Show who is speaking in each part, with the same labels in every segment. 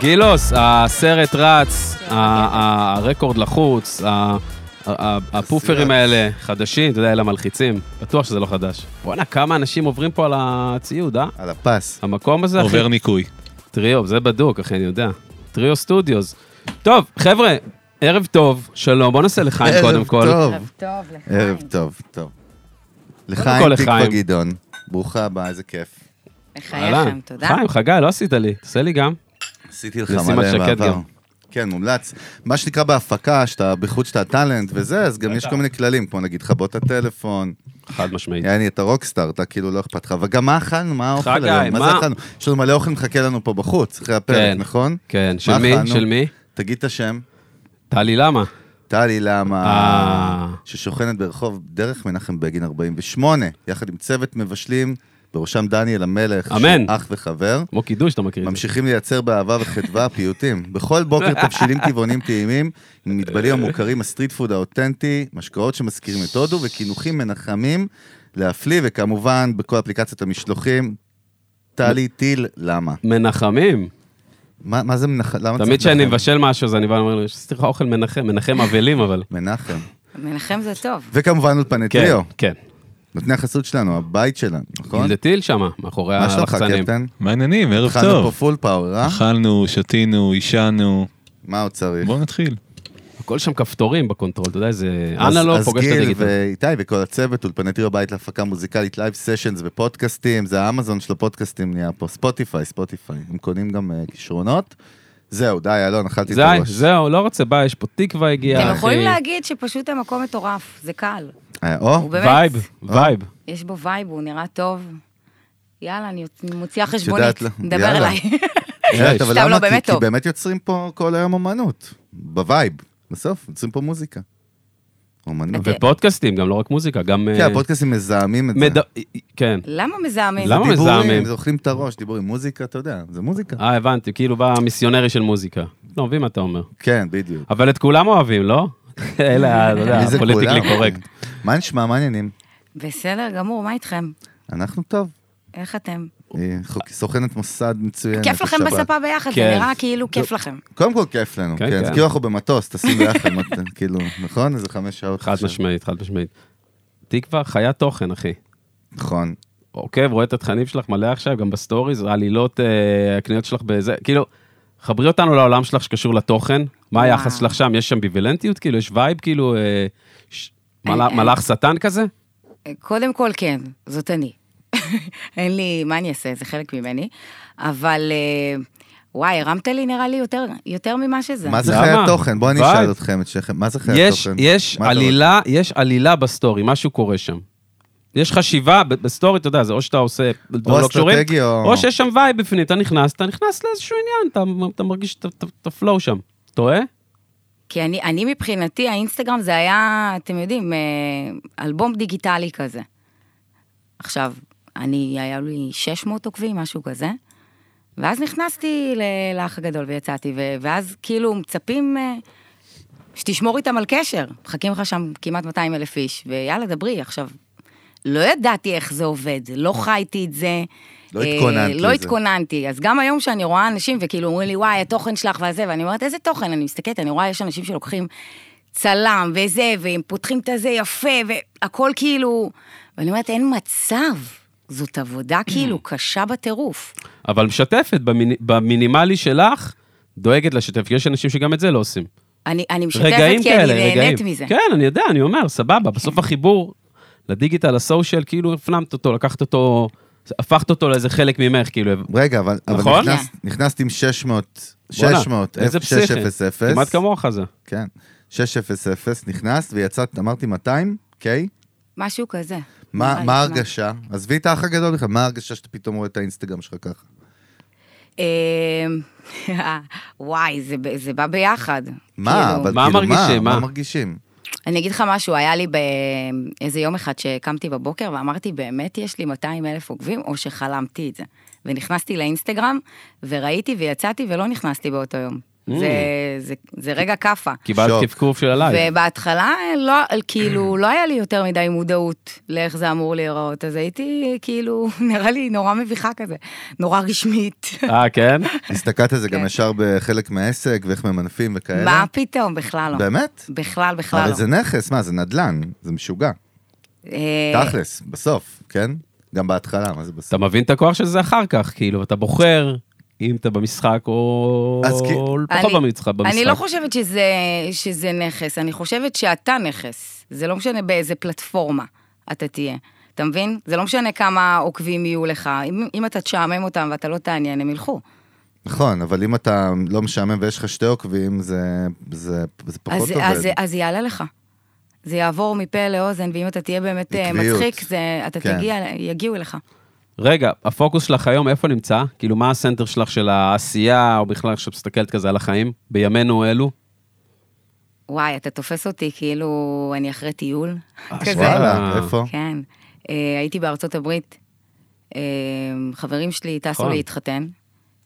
Speaker 1: גילוס, הסרט רץ, ה- ה- הרקורד לחוץ, ה- ה- ה- הפופרים האלה חדשים, אתה יודע, אלה מלחיצים. בטוח שזה לא חדש. בואנה, כמה אנשים עוברים פה על הציוד, אה?
Speaker 2: על הפס.
Speaker 1: המקום הזה, אחי.
Speaker 3: עובר ניקוי.
Speaker 1: טריו, זה בדוק, אחי, אני יודע. טריו סטודיוס. טוב, חבר'ה, ערב טוב, שלום. בוא נעשה לחיים קודם כל.
Speaker 2: ערב טוב.
Speaker 4: ערב טוב, לחיים.
Speaker 2: ערב טוב, טוב.
Speaker 1: כל
Speaker 2: לחיים תקווה
Speaker 1: לחיים.
Speaker 2: גדעון, ברוכה הבאה, איזה כיף.
Speaker 4: לחייכם, תודה.
Speaker 1: חיים, חגי, לא עשית לי, תעשה לי גם.
Speaker 2: עשיתי לך
Speaker 1: לשים על
Speaker 2: מלא
Speaker 1: שקד
Speaker 2: בעבר.
Speaker 1: גם.
Speaker 2: כן, מומלץ. מה שנקרא בהפקה, שאתה, בחוץ שאתה טאלנט וזה, אז גם יש כל מיני כללים, כמו נגיד לכבות את הטלפון,
Speaker 1: חד משמעית.
Speaker 2: יעני, אתה רוקסטאר, אתה כאילו לא אכפת לך. וגם מה אכלנו? מה האוכל
Speaker 1: חגי,
Speaker 2: היום? מה זה
Speaker 1: מה-
Speaker 2: אכלנו? יש לנו מלא אוכל מחכה לנו פה בחוץ, אחרי הפרק,
Speaker 1: כן.
Speaker 2: נכון?
Speaker 1: כן, של
Speaker 2: מה
Speaker 1: מי?
Speaker 2: אכלנו?
Speaker 1: של מי?
Speaker 2: תגיד את השם.
Speaker 1: טלי, למה?
Speaker 2: טלי למה,
Speaker 1: אה.
Speaker 2: ששוכנת ברחוב דרך מנחם בגין 48, יחד עם צוות מבשלים, בראשם דניאל המלך,
Speaker 1: אמן.
Speaker 2: שהוא אח וחבר.
Speaker 1: כמו קידוש, אתה מכיר את זה.
Speaker 2: ממשיכים לייצר באהבה וחדווה פיוטים. בכל בוקר תבשילים טבעונים טעימים, עם מטבלים המוכרים, הסטריט פוד האותנטי, משקאות שמזכירים את הודו, וקינוחים מנחמים להפליא, וכמובן, בכל אפליקציות המשלוחים, טלי טיל, למה?
Speaker 1: מנחמים.
Speaker 2: מה מה זה מנחם? למה
Speaker 1: תמיד
Speaker 2: לא צריך
Speaker 1: כשאני
Speaker 2: מנחם?
Speaker 1: מבשל משהו, אז אני בא ואומר לו, עשיתי לך אוכל מנחם, מנחם אבלים, אבל...
Speaker 2: מנחם.
Speaker 4: מנחם זה טוב.
Speaker 2: וכמובן אולפני
Speaker 1: כן,
Speaker 2: טריו,
Speaker 1: כן.
Speaker 2: נותני החסות שלנו, הבית שלנו, נכון?
Speaker 1: זה טיל שמה, מאחורי
Speaker 2: מה שלומך,
Speaker 1: הלחצנים.
Speaker 2: קפטן?
Speaker 3: מה העניינים? ערב
Speaker 2: התחלנו פה
Speaker 3: טוב.
Speaker 2: פול פאוור, אה?
Speaker 3: אכלנו, שתינו, עישנו.
Speaker 2: מה עוד צריך?
Speaker 3: בואו נתחיל.
Speaker 1: הכל שם כפתורים בקונטרול, אתה יודע, לא זה
Speaker 2: אז-
Speaker 1: אנלוג פוגש את
Speaker 2: אז גיל
Speaker 1: הדיגיטל.
Speaker 2: ואיתי וכל הצוות, אולפני טריו בית להפקה מוזיקלית, לייב סשנס ופודקאסטים, זה האמזון של הפודקאסטים נהיה פה, ספוטיפיי, ספוטיפיי, הם קונים גם אה, כישרונות. זהו, די, אלון, אכלתי את
Speaker 1: זה,
Speaker 2: הראש.
Speaker 1: זהו, לא רוצה, בא, יש פה תקווה הגיעה, אחי.
Speaker 4: אתם יכולים להגיד שפשוט המקום מטורף, זה קל.
Speaker 2: אה, או,
Speaker 4: הוא באמת, כן.
Speaker 1: וייב,
Speaker 2: אה?
Speaker 1: וייב.
Speaker 4: יש בו וייב, הוא נראה טוב. יאללה, אני מוציאה
Speaker 2: יודעת,
Speaker 4: חשבונית, דבר
Speaker 2: יאללה.
Speaker 4: אליי.
Speaker 2: יודעת,
Speaker 4: סתם,
Speaker 2: אה, אבל
Speaker 4: לא,
Speaker 2: למה? כי-
Speaker 4: באמת
Speaker 2: כי
Speaker 4: טוב.
Speaker 2: באמת יוצרים פה כל היום אומנות, בווייב, בסוף, יוצרים פה מוזיקה. אומנות.
Speaker 4: אתם-
Speaker 1: ופודקאסטים, גם לא רק מוזיקה, גם...
Speaker 2: כן,
Speaker 1: אה,
Speaker 2: הפודקאסטים מזהמים את זה.
Speaker 1: מד- כן.
Speaker 4: למה מזהמים?
Speaker 1: למה?
Speaker 2: דיבורים,
Speaker 1: מזהמים?
Speaker 2: זה אוכלים את הראש, דיבורים, מוזיקה, אתה יודע, זה מוזיקה.
Speaker 1: אה, הבנתי, כאילו בא מיסיונרי של מוזיקה. לא מבין מה אתה אומר.
Speaker 2: כן, בדיוק.
Speaker 1: אבל את כולם אוהבים, לא? אלה, ה- אתה יודע,
Speaker 2: מי זה
Speaker 1: הפוליטיקלי
Speaker 2: כולם?
Speaker 1: קורקט.
Speaker 2: מה נשמע, מה העניינים?
Speaker 4: בסדר גמור, מה איתכם?
Speaker 2: אנחנו טוב.
Speaker 4: איך אתם?
Speaker 2: היא חוק- סוכנת מוסד מצוינת.
Speaker 4: כיף לכם
Speaker 2: בשבת.
Speaker 4: בספה ביחד, זה
Speaker 1: כן.
Speaker 4: נראה כאילו כיף לכם.
Speaker 2: קודם כל כיף לנו,
Speaker 1: כן,
Speaker 2: כן. זה
Speaker 1: כן.
Speaker 2: כאילו אנחנו במטוס, טסים ביחד, מה אתה- כאילו, נכון? איזה חמש שעות.
Speaker 1: חד
Speaker 2: עכשיו.
Speaker 1: משמעית, חד משמעית. תקווה, חיית תוכן, אחי.
Speaker 2: נכון.
Speaker 1: עוקב, רואה את התכנים שלך מלא עכשיו, גם בסטוריז, העלילות, אה, הקניות שלך בזה, כאילו, חברי אותנו לעולם שלך שקשור לתוכן, מה
Speaker 4: וואו.
Speaker 1: היחס שלך שם, יש שם ביבילנטיות, כאילו, יש וייב, כאילו, אה, ש-
Speaker 4: אין,
Speaker 1: מלאך-
Speaker 4: אין.
Speaker 1: מלאך שטן כזה?
Speaker 4: קודם כל כן, זאת אני. אין לי, מה אני אעשה, זה חלק ממני. אבל אה, וואי, הרמת לי נראה לי יותר, יותר ממה שזה.
Speaker 2: מה זה
Speaker 1: למה?
Speaker 2: חיי תוכן? בואו אני אשאל
Speaker 1: וייב.
Speaker 2: אתכם, את שניכם. מה זה חיי
Speaker 1: יש,
Speaker 2: תוכן?
Speaker 1: יש
Speaker 2: כן, מה אתה
Speaker 1: עלילה, יש עלילה בסטורי, משהו קורה שם. יש חשיבה, ב- בסטורי, אתה יודע, זה או שאתה עושה דברים לא קשורים,
Speaker 2: אסטרטגי או-
Speaker 1: או שיש שם וייב בפנים, אתה נכנס, אתה נכנס לאיזשהו עניין, אתה- אתה מרגיש את ה- את ה- את הפלואו שם. טועה?
Speaker 4: כי אני, אני מבחינתי, האינסטגרם זה היה, אתם יודעים, אה, אלבום דיגיטלי כזה. עכשיו, אני, היה לי 600 עוקבים, משהו כזה, ואז נכנסתי ל- לאח הגדול ויצאתי, ו- ואז כאילו מצפים אה, שתשמור איתם על קשר. מחכים לך שם כמעט 200 אלף איש, ויאללה, דברי. עכשיו, לא ידעתי איך זה עובד, לא חייתי את זה.
Speaker 2: לא
Speaker 4: אה,
Speaker 2: התכוננת לזה.
Speaker 4: לא התכוננתי, אז גם היום שאני רואה אנשים וכאילו אומרים לי, וואי, התוכן שלך והזה, ואני אומרת, איזה תוכן? אני מסתכלת, אני רואה, יש אנשים שלוקחים צלם וזה, והם פותחים את הזה יפה, והכל כאילו... ואני אומרת, אין מצב, זאת עבודה
Speaker 2: Mm.
Speaker 4: כאילו קשה בטירוף.
Speaker 1: אבל משתפת במיני- במינימלי שלך, דואגת לשתף, כי יש אנשים שגם את זה לא עושים.
Speaker 4: אני, אני משתפת
Speaker 1: רגעים
Speaker 4: כי
Speaker 1: כאלה,
Speaker 4: אני
Speaker 1: רגעים.
Speaker 4: נהנית מזה.
Speaker 1: כן, אני יודע, אני אומר, סבבה, בסוף החיבור לדיגיטל, לסושיאל, כאילו הפנמת אותו, לקחת אותו, הפכת אותו לאיזה חלק ממך, כאילו,
Speaker 2: עוד? רגע, אבל אבל
Speaker 1: נכון?
Speaker 2: נכנס-
Speaker 4: כן.
Speaker 2: נכנסת עם 600,
Speaker 1: בואנה,
Speaker 2: 600,
Speaker 1: איזה פסיכי.
Speaker 2: 600,
Speaker 1: כמעט כמוך זה.
Speaker 2: כן, 600, נכנסת ויצאת, אמרתי 200, אוקיי?
Speaker 4: משהו כזה. נראה
Speaker 2: מה
Speaker 4: לי,
Speaker 2: מה ההרגשה? עזבי את האח הגדול בכלל, מה ההרגשה שאתה פתאום רואה את האינסטגרם שלך ככה?
Speaker 4: אה, וואי, זה, ב- זה בא ביחד.
Speaker 2: מה? אבל
Speaker 1: מה
Speaker 2: כאילו,
Speaker 1: מרגישים?
Speaker 2: מה
Speaker 1: מה?
Speaker 2: מרגישים?
Speaker 4: אני אגיד לך משהו, היה לי באיזה יום אחד שקמתי בבוקר ואמרתי, באמת יש לי 200 אלף עוקבים, או שחלמתי את זה. ונכנסתי לאינסטגרם, וראיתי ויצאתי ולא נכנסתי באותו יום.
Speaker 1: Mm.
Speaker 4: זה, זה, זה רגע כאפה.
Speaker 1: קיבלת
Speaker 2: שוק.
Speaker 1: קפקוף של הלייב.
Speaker 4: ובהתחלה, לא, כאילו, לא היה לי יותר מדי מודעות לאיך זה אמור להיראות, אז הייתי, כאילו, נראה לי נורא מביכה כזה, נורא רשמית.
Speaker 1: אה, כן?
Speaker 2: הסתכלת על זה גם
Speaker 4: כן.
Speaker 2: ישר בחלק מהעסק, ואיך ממנפים וכאלה?
Speaker 4: מה פתאום, בכלל לא.
Speaker 2: כן. באמת?
Speaker 4: בכלל, בכלל
Speaker 2: אבל
Speaker 4: לא.
Speaker 2: זה נכס, מה, זה נדל"ן, זה משוגע.
Speaker 4: אה,
Speaker 2: תכלס, בסוף, כן? גם בהתחלה, מה זה בסוף?
Speaker 1: אתה מבין את הכוח של זה אחר כך, כאילו, אתה בוחר אם אתה במשחק או
Speaker 2: אז כי-
Speaker 1: או פחות
Speaker 4: אני-
Speaker 1: במשחק.
Speaker 4: אני לא חושבת שזה, שזה נכס, אני חושבת שאתה נכס. זה לא משנה באיזה פלטפורמה אתה תהיה. אתה מבין? זה לא משנה כמה עוקבים יהיו לך. אם, אם אתה תשעמם אותם ואתה לא תעניין, הם ילכו.
Speaker 2: נכון, אבל אם אתה לא משעמם ויש לך שתי עוקבים, זה זה- זה פחות
Speaker 4: אז,
Speaker 2: עובד.
Speaker 4: אז, אז יעלה לך. זה יעבור מפה לאוזן, ואם אתה תהיה באמת אה,
Speaker 2: עקביות.
Speaker 4: מצחיק, זה, אתה
Speaker 2: כן.
Speaker 4: תגיע, יגיעו אליך.
Speaker 1: רגע, הפוקוס שלך היום, איפה נמצא? כאילו, מה הסנטר שלך של העשייה, או בכלל כשאת מסתכלת כזה על החיים, בימינו אלו?
Speaker 4: וואי, אתה תופס אותי כאילו אני אחרי טיול.
Speaker 2: אה,
Speaker 4: כזה.
Speaker 2: וואלה, איפה?
Speaker 4: כן. אה, הייתי בארצות הברית. אה, חברים שלי טסו
Speaker 1: נכון.
Speaker 4: להתחתן,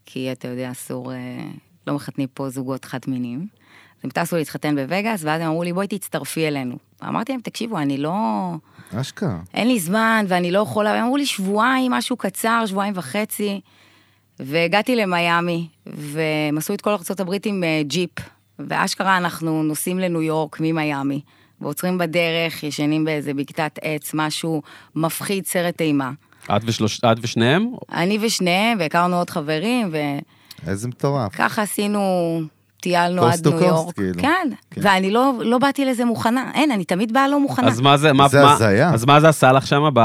Speaker 4: כי אתה יודע, אסור, אה, לא מחתנים פה זוגות חד-מיניים. אז הם טסו להתחתן בווגאס, ואז הם אמרו לי, בואי תצטרפי אלינו. אמרתי להם, תקשיבו, אני לא...
Speaker 2: אשכרה.
Speaker 4: אין לי זמן ואני לא יכולה, הם אמרו לי שבועיים, משהו קצר, שבועיים וחצי. והגעתי למיאמי, והם עשו את כל ארה"ב עם אה, ג'יפ, ואשכרה אנחנו נוסעים לניו יורק ממיאמי, ועוצרים בדרך, ישנים באיזה בקתת עץ, משהו מפחיד, סרט אימה.
Speaker 1: את, ושלוש... את ושניהם?
Speaker 4: אני ושניהם, והכרנו עוד חברים,
Speaker 2: איזה מטורף.
Speaker 4: וככה עשינו, טיילנו
Speaker 2: Coast
Speaker 4: עד
Speaker 2: to
Speaker 4: ניו
Speaker 2: coast,
Speaker 4: יורק.
Speaker 2: כאילו.
Speaker 4: כן,
Speaker 2: כן.
Speaker 4: ואני לא, לא באתי לזה מוכנה, אין, אני תמיד באה לא מוכנה.
Speaker 1: אז מה זה, מה,
Speaker 2: זה
Speaker 1: מה,
Speaker 2: הזיה.
Speaker 1: אז מה זה עשה לך שם? ב...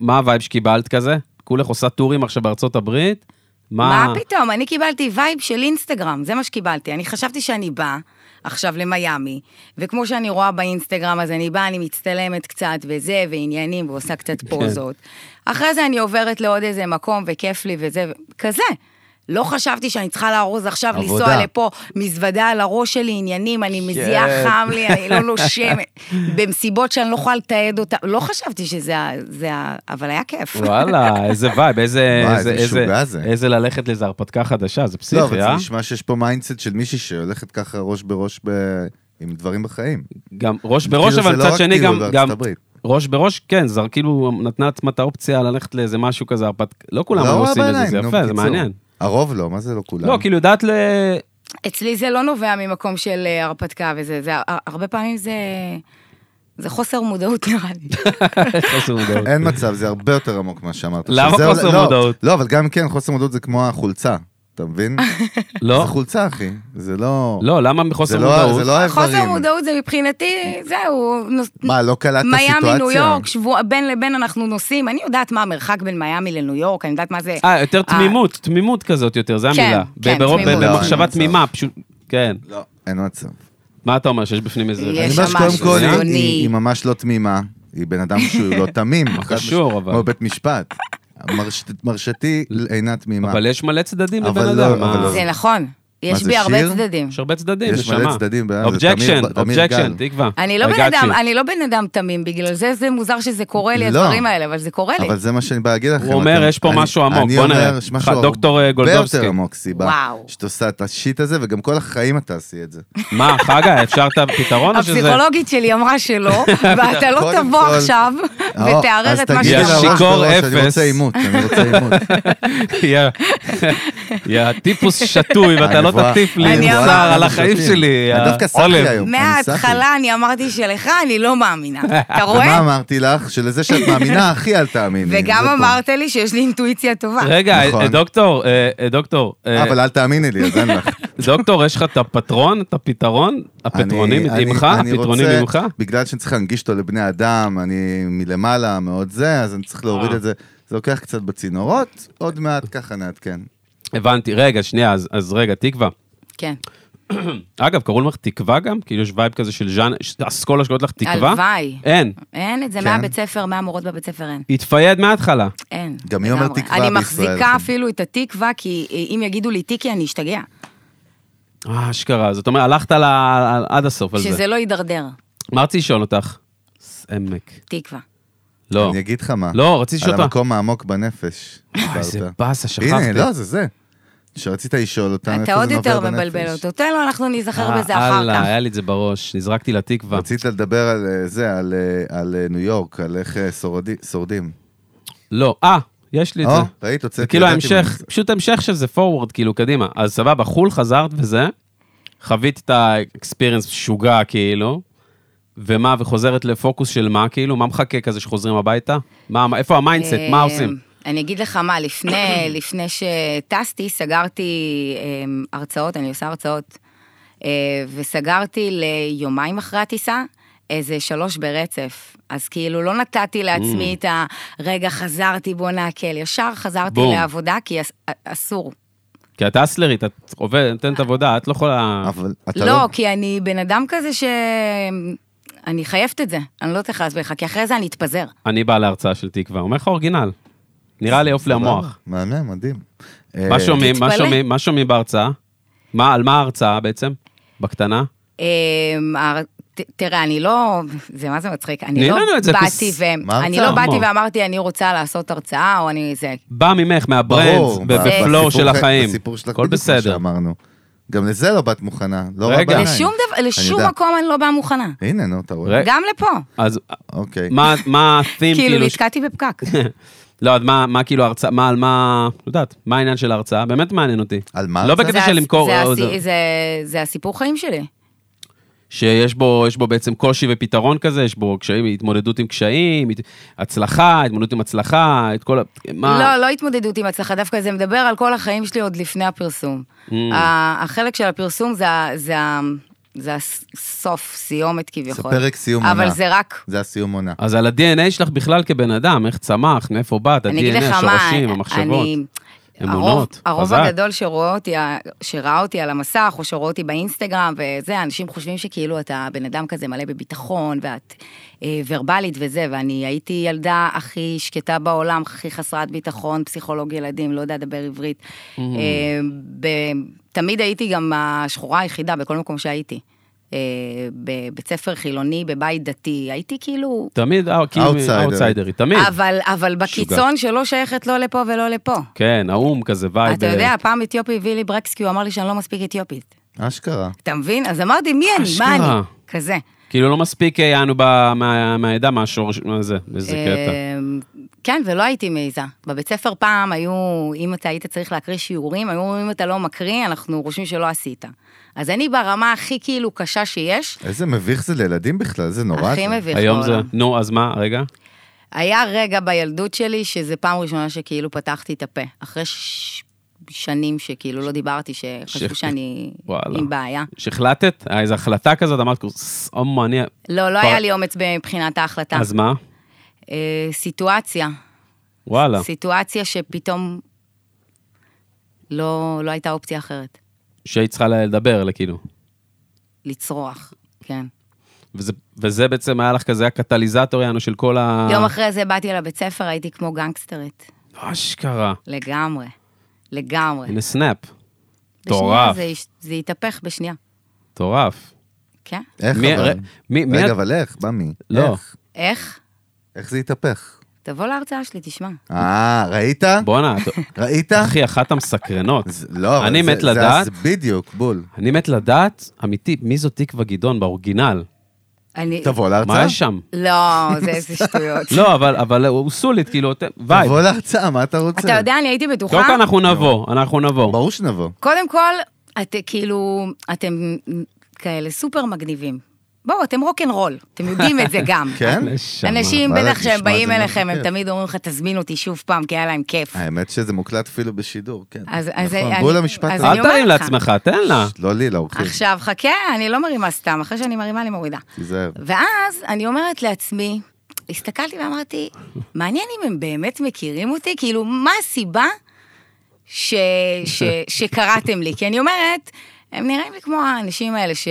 Speaker 1: מה הווייב שקיבלת כזה? כולך עושה טורים עכשיו בארצות הברית?
Speaker 4: מה פתאום? אני קיבלתי וייב של אינסטגרם, זה מה שקיבלתי. אני חשבתי שאני באה עכשיו למיאמי, וכמו שאני רואה באינסטגרם, אז אני באה, אני מצטלמת קצת וזה, ועניינים, ועושה קצת פוזות. אחרי זה אני עוברת לעוד איזה מקום, וכיף לי וזה, ו- כזה. לא חשבתי שאני צריכה לארוז עכשיו,
Speaker 2: עבודה.
Speaker 4: לנסוע לפה, מזוודה על הראש שלי, עניינים, אני מזיעה חם לי, אני לא נושמת, במסיבות שאני לא יכולה לתעד אותן, לא חשבתי שזה ה... זה ה- אבל היה כיף.
Speaker 1: וואלה, איזה וייב, איזה,
Speaker 2: וואי,
Speaker 1: איזה,
Speaker 2: איזה משוגע
Speaker 1: איזה,
Speaker 2: זה.
Speaker 1: איזה ללכת לאיזה הרפתקה חדשה, זה
Speaker 2: לא, אבל
Speaker 1: פסיכי,
Speaker 2: זה
Speaker 1: אה?
Speaker 2: נשמע שיש פה מיינדסט של מישהי שהולכת ככה ראש בראש ב- עם דברים בחיים.
Speaker 1: גם ראש בראש,
Speaker 2: כאילו,
Speaker 1: אבל
Speaker 2: זה לא
Speaker 1: מצד
Speaker 2: רק
Speaker 1: שני
Speaker 2: טיול
Speaker 1: גם,
Speaker 2: בארצות
Speaker 1: גם
Speaker 2: הברית.
Speaker 1: ראש בראש, כן, זה כאילו נתנה עצמה את האופציה ללכת לאיזה משהו כזה, הרפתקה, לא כולם
Speaker 2: לא
Speaker 1: היו
Speaker 2: רואה
Speaker 1: עושים את זה,
Speaker 2: בעיניים,
Speaker 1: זה
Speaker 2: נו,
Speaker 1: יפה, זה
Speaker 2: בקיצור.
Speaker 1: מעניין.
Speaker 2: הרוב לא, מה זה לא כולם?
Speaker 1: לא, כאילו יודעת ל...
Speaker 4: אצלי זה לא נובע ממקום של אה, הרפתקה וזה, זה הר- הרבה פעמים זה, זה חוסר מודעות נראה לי.
Speaker 1: חוסר מודעות.
Speaker 2: אין מצב, זה הרבה יותר עמוק ממה שאמרת.
Speaker 1: כאילו- למה
Speaker 2: שזה
Speaker 1: חוסר
Speaker 2: עולה- לא,
Speaker 1: מודעות?
Speaker 2: לא, אבל גם כן, חוסר מודעות זה כמו החולצה, אתה מבין?
Speaker 1: לא,
Speaker 2: זה חולצה, אחי. זה לא...
Speaker 1: לא, למה
Speaker 2: זה
Speaker 1: מחוסר
Speaker 2: לא- זה
Speaker 1: מודעות?
Speaker 2: לא
Speaker 4: חוסר
Speaker 2: האיברים.
Speaker 4: מודעות זה מבחינתי, זהו. נוס-
Speaker 2: מה, לא קלטת סיטואציה?
Speaker 4: מיאמי, ניו יורק, שבוע, בין לבין אנחנו נוסעים, אני יודעת מה המרחק בין מיאמי לניו יורק, אני יודעת מה זה.
Speaker 1: אה, יותר תמימות, תמימות כזאת יותר, זה
Speaker 4: כן,
Speaker 1: המילה.
Speaker 4: כן,
Speaker 1: ברוב-
Speaker 4: תמימות.
Speaker 1: ב- במחשבה
Speaker 2: לא,
Speaker 1: תמימה, פשוט, כן.
Speaker 2: לא, אין מצב.
Speaker 1: מה אתה אומר, שיש בפנים איזה...
Speaker 4: יש
Speaker 2: אני
Speaker 4: יש
Speaker 2: אומר שקודם
Speaker 4: משהו
Speaker 2: כל, היא-
Speaker 4: ציוני.
Speaker 2: היא היא ממש לא תמימה. היא בן אדם שהוא לא תמים. חד
Speaker 1: קשור,
Speaker 2: משמעית.
Speaker 1: אבל.
Speaker 2: כמו בית משפט. מרש- מרשתי אינה תמימה.
Speaker 1: אבל יש מלא צדדים
Speaker 2: אבל
Speaker 1: לבן
Speaker 2: לא,
Speaker 1: אדם.
Speaker 2: אבל
Speaker 1: מה?
Speaker 2: לא.
Speaker 4: זה נכון, יש
Speaker 2: זה,
Speaker 4: בי הרבה
Speaker 2: שיר?
Speaker 4: צדדים.
Speaker 1: יש הרבה צדדים,
Speaker 2: יש מלא
Speaker 1: נשמה.
Speaker 2: צדדים, ואז זה
Speaker 1: אובג'קשן,
Speaker 2: תמיר- תמיר
Speaker 1: אובג'קשן,
Speaker 2: גל.
Speaker 1: תקווה.
Speaker 4: אני לא
Speaker 1: I
Speaker 4: בן
Speaker 1: got
Speaker 4: אדם,
Speaker 1: you.
Speaker 4: אני לא בן אדם תמים, בגלל זה זה מוזר שזה קורה לי,
Speaker 2: לא.
Speaker 4: הדברים האלה, אבל זה קורה לי.
Speaker 2: אבל זה מה שאני בא להגיד לכם.
Speaker 1: הוא אומר,
Speaker 2: אתם-
Speaker 1: יש פה
Speaker 2: אני-
Speaker 1: משהו עמוק,
Speaker 2: אני
Speaker 1: בוא נראה.
Speaker 2: אומר, יש משהו
Speaker 1: אחד, דוקטור, אה, גולדובסקי.
Speaker 2: הרבה יותר עמוק סיבה.
Speaker 4: וואו.
Speaker 2: שאת עושה את השיט הזה, וגם כל החיים את תעשי את זה.
Speaker 1: מה, חגה, אפשר את הפתרון או שזה...
Speaker 4: הפסיכולוגית שלי אמרה שלא, ואתה לא
Speaker 2: לא קודם
Speaker 4: תבוא
Speaker 2: כל-
Speaker 4: עכשיו
Speaker 2: אה,
Speaker 4: ותערער
Speaker 2: אז
Speaker 4: את מה
Speaker 2: תגידי
Speaker 1: שאתה
Speaker 4: שאתה
Speaker 2: לה
Speaker 1: אמרת.
Speaker 2: ראש
Speaker 1: שיכור
Speaker 2: בראש,
Speaker 1: אפס.
Speaker 2: אני רוצה עימות, אני רוצה עימות.
Speaker 1: יא- יא טיפוס שתוי, ואתה לא
Speaker 2: הנבואה.
Speaker 1: תטיף לי
Speaker 4: אני
Speaker 1: מוסר
Speaker 4: אמרתי.
Speaker 1: על החיים שלי. אה,
Speaker 2: אני
Speaker 1: יא
Speaker 2: דווקא סחי
Speaker 1: עולב.
Speaker 2: היום. אני סחי.
Speaker 4: מההתחלה אני אמרתי שלך אני לא מאמינה, אתה
Speaker 2: ומה
Speaker 4: רואה?
Speaker 2: אמרתי לך? שלזה שאת מאמינה, הכי אל תאמיני.
Speaker 4: וגם
Speaker 2: זה פה.
Speaker 4: אמרת לי שיש לי אינטואיציה טובה.
Speaker 1: רגע,
Speaker 2: נכון.
Speaker 1: אה, דוקטור, אה, אה, דוקטור, אה,
Speaker 2: אבל אל תאמיני לי, אז אין לך.
Speaker 1: דוקטור, יש לך את הפטרון, את הפתרון? הפטרונים
Speaker 2: אני-
Speaker 1: ממך?
Speaker 2: אני- אני
Speaker 1: הפתרונים
Speaker 2: רוצה-
Speaker 1: ממך?
Speaker 2: בגלל שאני צריך להנגיש אותו לבני אדם, אני מלמעלה מאוד זה, אז אני צריך להוריד
Speaker 1: אה.
Speaker 2: את זה. זה לוקח קצת בצינורות, עוד מעט ככה נעדכן.
Speaker 1: הבנתי, רגע, שנייה, אז- אז רגע, תקווה.
Speaker 4: כן.
Speaker 1: אגב, קראו לך תקווה גם? כאילו יש וייב כזה של ז'אן, ש- אסכולה שקוראת לך תקווה?
Speaker 4: הלוואי.
Speaker 1: אין.
Speaker 4: אין את זה
Speaker 2: כן.
Speaker 4: מהבית ספר, מהמורות בבית ספר אין.
Speaker 1: התפייד מההתחלה.
Speaker 4: אין.
Speaker 2: גם היא אומרת
Speaker 4: לגמרי.
Speaker 2: תקווה
Speaker 4: אני
Speaker 2: בישראל,
Speaker 4: מחזיקה
Speaker 2: אחי.
Speaker 4: אפילו את התקווה, כי אם יגידו לי תיקי אני אשתגע.
Speaker 1: אה, אשכרה. זאת אומרת, הלכת על ה- על- עד הסוף על זה.
Speaker 4: שזה לא יידרדר,
Speaker 1: מה רציתי לשאול אותך? עמק.
Speaker 4: תקווה.
Speaker 1: לא.
Speaker 2: אני אגיד לך מה.
Speaker 1: לא, רציתי לשאול
Speaker 2: על
Speaker 1: אותה.
Speaker 2: המקום העמוק בנפש.
Speaker 1: וואי, אה, איזה
Speaker 2: דיברת.
Speaker 1: באסה, שכחתי.
Speaker 2: הנה, לא, זה זה. שרצית לשאול אותה,
Speaker 4: אתה
Speaker 2: איפה
Speaker 4: עוד
Speaker 2: זה נובע
Speaker 4: יותר
Speaker 2: בנפש?
Speaker 4: מבלבל אותו. תן לו, אנחנו ניזכר
Speaker 1: אה,
Speaker 4: בזה אחר
Speaker 1: אללה,
Speaker 4: כך.
Speaker 1: היה לי את זה בראש, נזרקתי לתקווה.
Speaker 2: רצית לדבר על אה, זה, על, אה, על אה, ניו יורק, על איך אה, שורדי- שורדים.
Speaker 1: לא, אה, יש לי את
Speaker 2: או,
Speaker 1: זה.
Speaker 2: ראית, הוצאתי.
Speaker 1: זה כאילו
Speaker 2: ידעתי מה
Speaker 1: ההמשך,
Speaker 2: זה.
Speaker 1: פשוט המשך של זה forward, כאילו, קדימה. אז סבבה, חו"ל חזרת וזה, חווית את האקספיריינס משוגע, כאילו, ומה, וחוזרת לפוקוס של מה, כאילו, מה מחכה כזה שחוזרים הביתה? מה, מה- איפה המיינדסט, מה
Speaker 4: אה,
Speaker 1: עושים?
Speaker 4: אני אגיד לך מה, לפני, לפני שטסתי, סגרתי אה, הרצאות, אני עושה הרצאות, אה, וסגרתי ליומיים אחרי הטיסה, איזה שלוש ברצף. אז כאילו לא נתתי
Speaker 1: Mm.
Speaker 4: לעצמי את ה... רגע, חזרתי, בוא נעכל. ישר חזרתי
Speaker 1: בום.
Speaker 4: לעבודה, כי אס- אה, אסור.
Speaker 1: כי את אסלרית, את עובדת, נותנת עבודה, את לא יכולה...
Speaker 2: אבל אתה לא...
Speaker 4: לא, כי אני בן אדם כזה ש... אני חייבת את זה, אני לא תכעס בך, כי אחרי זה אני אתפזר.
Speaker 1: אני בא להרצאה של תקווה, אומר לך אורגינל. נראה לי עוף
Speaker 2: סבבה, אה,
Speaker 1: למוח.
Speaker 2: מהמם, מדהים.
Speaker 1: מה שומעים, מה
Speaker 4: תתפלא.
Speaker 1: שומעים, מה שומעים בהרצאה? מה, על מה ההרצאה בעצם? בקטנה?
Speaker 4: אמ, הר- ת- תראה, אני לא, זה מה זה מצחיק, אני
Speaker 1: תני
Speaker 4: לא
Speaker 1: לנו את זה,
Speaker 4: באתי
Speaker 1: כוס-
Speaker 4: ו...
Speaker 2: מה
Speaker 4: אני
Speaker 2: הרצאה?
Speaker 4: לא באתי
Speaker 1: מה?
Speaker 4: ואמרתי, אני רוצה לעשות הרצאה, או אני זה.
Speaker 1: בא ממך,
Speaker 2: ברור,
Speaker 1: מהברנד, ב-
Speaker 2: ב- בסיפור
Speaker 1: בפלואו של
Speaker 2: ח-
Speaker 1: החיים.
Speaker 2: בסיפור שלך
Speaker 1: הכל
Speaker 2: בדיוק כמו
Speaker 1: בסדר.
Speaker 2: שאמרנו. גם לזה לא באת מוכנה, לא רע
Speaker 1: רגע.
Speaker 2: בעיניים.
Speaker 4: לשום דבר, לשום
Speaker 2: יודע.
Speaker 4: מקום אני לא באה מוכנה.
Speaker 2: הנה, נו, אתה רואה?
Speaker 1: רגע.
Speaker 4: גם לפה.
Speaker 1: אז
Speaker 2: אוקיי.
Speaker 1: מה מה ה-theme
Speaker 4: כאילו,
Speaker 1: כאילו? ש-
Speaker 4: נתקעתי בפקק.
Speaker 1: לא, אז מה מה כאילו ההרצאה, מה על מה, לא יודעת, מה העניין של ההרצאה? באמת מעניין אותי.
Speaker 2: על מה
Speaker 1: לא
Speaker 2: ההרצאה?
Speaker 1: בקטע
Speaker 4: זה
Speaker 1: של
Speaker 4: הס-
Speaker 1: למכור,
Speaker 4: זה
Speaker 1: או
Speaker 4: הסי-
Speaker 1: זה-
Speaker 4: זה- זה הסיפור חיים שלי.
Speaker 1: שיש בו יש בו בעצם קושי ופתרון כזה, יש בו קשיים, התמודדות עם קשיים, הת- הצלחה, התמודדות עם הצלחה, את כל ה... מה?
Speaker 4: לא, לא התמודדות עם הצלחה, דווקא זה מדבר על כל החיים שלי עוד לפני הפרסום.
Speaker 1: Mm.
Speaker 4: ה- החלק של הפרסום זה ה- זה ה- זה הסוף, סיומת כביכול.
Speaker 2: פרק סיום
Speaker 4: אבל
Speaker 2: עונה.
Speaker 4: זה רק
Speaker 2: זה הסיום עונה.
Speaker 1: אז על ה-DNA שלך בכלל כבן אדם, איך צמח, מאיפה באת,
Speaker 4: אני אגיד
Speaker 1: ה-DNA,
Speaker 4: לך מה,
Speaker 1: השורשים, המחשבות,
Speaker 4: אני-
Speaker 1: אמונות,
Speaker 4: הרוב, הרוב
Speaker 1: חזק.
Speaker 4: הגדול שרואה אותי, שראה אותי על המסך, או שרואה אותי באינסטגרם, וזה, אנשים חושבים שכאילו אתה בן אדם כזה מלא בביטחון, ואת אה, ורבלית וזה, ואני הייתי ילדה הכי שקטה בעולם, הכי חסרת ביטחון, פסיכולוג ילדים, לא יודעת לדבר עברית.
Speaker 1: Mm-hmm.
Speaker 4: אה, ב, תמיד הייתי גם השחורה היחידה בכל מקום שהייתי. אה, בבית ספר חילוני, בבית דתי, הייתי כאילו...
Speaker 1: תמיד אה, כאילו,
Speaker 2: Outsider.
Speaker 1: אאוטסיידרית, תמיד.
Speaker 4: אבל, אבל בקיצון שלא שייכת לא לפה ולא לפה.
Speaker 1: כן, האו"ם כזה וייב.
Speaker 4: אתה יודע, פעם אתיופי הביא לי ברקס כי הוא אמר לי שאני לא מספיק אתיופית.
Speaker 2: אשכרה.
Speaker 4: אתה מבין? אז אמרתי, מי אני?
Speaker 1: אשכרה.
Speaker 4: מה אני? כזה.
Speaker 1: כאילו לא מספיק אה, יענו ב- מה- מהעדה, מהשורש, מה זה, איזה קטע.
Speaker 4: אמ, כן, ולא הייתי מעיזה. בבית ספר פעם היו, אם אתה היית צריך להקריא שיעורים, היו אומרים, אם אתה לא מקריא, אנחנו חושבים שלא עשית. אז אני ברמה הכי כאילו קשה שיש,
Speaker 2: איזה מביך זה לילדים בכלל, זה נורא.
Speaker 4: הכי
Speaker 2: זה.
Speaker 4: מביך
Speaker 1: היום זה,
Speaker 4: בעולם.
Speaker 1: נו, אז מה, רגע?
Speaker 4: היה רגע בילדות שלי שזה פעם ראשונה שכאילו פתחתי את הפה. אחרי ש... שנים שכאילו לא דיברתי, שחשבו
Speaker 1: ש-
Speaker 4: שאני
Speaker 1: וואלה.
Speaker 4: עם בעיה.
Speaker 1: שהחלטת? היה איזו אה, החלטה כזאת, אמרת כאילו, "ס, אומו, אני...
Speaker 4: לא, לא
Speaker 1: כבר-
Speaker 4: היה לי אומץ מבחינת ההחלטה.
Speaker 1: אז מה?
Speaker 4: אה, סיטואציה.
Speaker 1: וואלה.
Speaker 4: סיטואציה שפתאום לא, לא הייתה אופציה אחרת.
Speaker 1: שהיית צריכה לדבר, כאילו.
Speaker 4: לצרוח, כן.
Speaker 1: וזה- וזה בעצם היה לך כזה הקטליזטור יענו של כל ה...
Speaker 4: יום אחרי זה באתי לבית ספר, הייתי כמו גנגסטרית.
Speaker 1: אשכרה.
Speaker 4: לגמרי. לגמרי.
Speaker 1: הנה סנאפ.
Speaker 4: בשנייה
Speaker 1: מטורף.
Speaker 4: זה, יש- זה התהפך בשנייה,
Speaker 1: מטורף.
Speaker 4: כן?
Speaker 2: איך
Speaker 1: מי-
Speaker 2: אבל?
Speaker 1: ר- מי- מי-
Speaker 2: רגע, אבל איך? במי?
Speaker 1: לא.
Speaker 2: איך?
Speaker 4: איך?
Speaker 2: איך זה התהפך?
Speaker 4: תבוא להרצאה שלי, תשמע.
Speaker 2: אה, ראית?
Speaker 1: בואנה, את-
Speaker 2: ראית?
Speaker 1: אחי, אחת המסקרנות.
Speaker 2: זה- לא, אבל
Speaker 1: אני
Speaker 2: זה-
Speaker 1: מת
Speaker 2: זה-
Speaker 1: לדעת.
Speaker 2: זה בדיוק, בול.
Speaker 1: אני מת לדעת, אמיתי, מי זו תקווה גדעון באורגינל?
Speaker 4: אני...
Speaker 2: תבוא
Speaker 1: מה
Speaker 2: להרצאה?
Speaker 1: יש שם?
Speaker 4: לא, זה איזה שטויות.
Speaker 1: לא, אבל- אבל הוא סולית, כאילו, אתם- וייב.
Speaker 2: תבוא להרצאה, מה אתה רוצה?
Speaker 4: אתה יודע, אני הייתי בטוחה...
Speaker 1: קודם כל אנחנו נבוא, אנחנו נבוא.
Speaker 2: ברור שנבוא.
Speaker 4: קודם כל, את, כאילו, אתם כאלה סופר מגניבים. בואו, אתם רוקנרול, אתם יודעים את זה גם.
Speaker 2: כן?
Speaker 1: נשמה.
Speaker 4: אנשים,
Speaker 2: וואלה,
Speaker 4: בטח
Speaker 2: תשמע,
Speaker 4: כשהם באים
Speaker 2: זה
Speaker 4: אליכם, הם
Speaker 2: מרתק.
Speaker 4: תמיד אומרים לך, תזמין אותי שוב פעם, כי היה להם כיף.
Speaker 2: האמת שזה מוקלט אפילו בשידור, כן.
Speaker 4: אז- אז
Speaker 2: נכון,
Speaker 4: אני-
Speaker 2: בול המשפט
Speaker 4: אז
Speaker 2: הזה.
Speaker 4: אני
Speaker 1: אל תרים
Speaker 4: אומרת לך.
Speaker 1: לעצמך, תן לה.
Speaker 2: לא לי, לאורחים.
Speaker 4: עכשיו, חכה, אני לא מרימה סתם, אחרי שאני מרימה, אני מורידה.
Speaker 2: תיזהר.
Speaker 4: ואז אני אומרת לעצמי, הסתכלתי ואמרתי, מעניין אם הם באמת מכירים אותי, כאילו, מה הסיבה ש, ש, שקראתם לי? כי אני אומרת, הם נראים לי כמו האנשים האלה ש...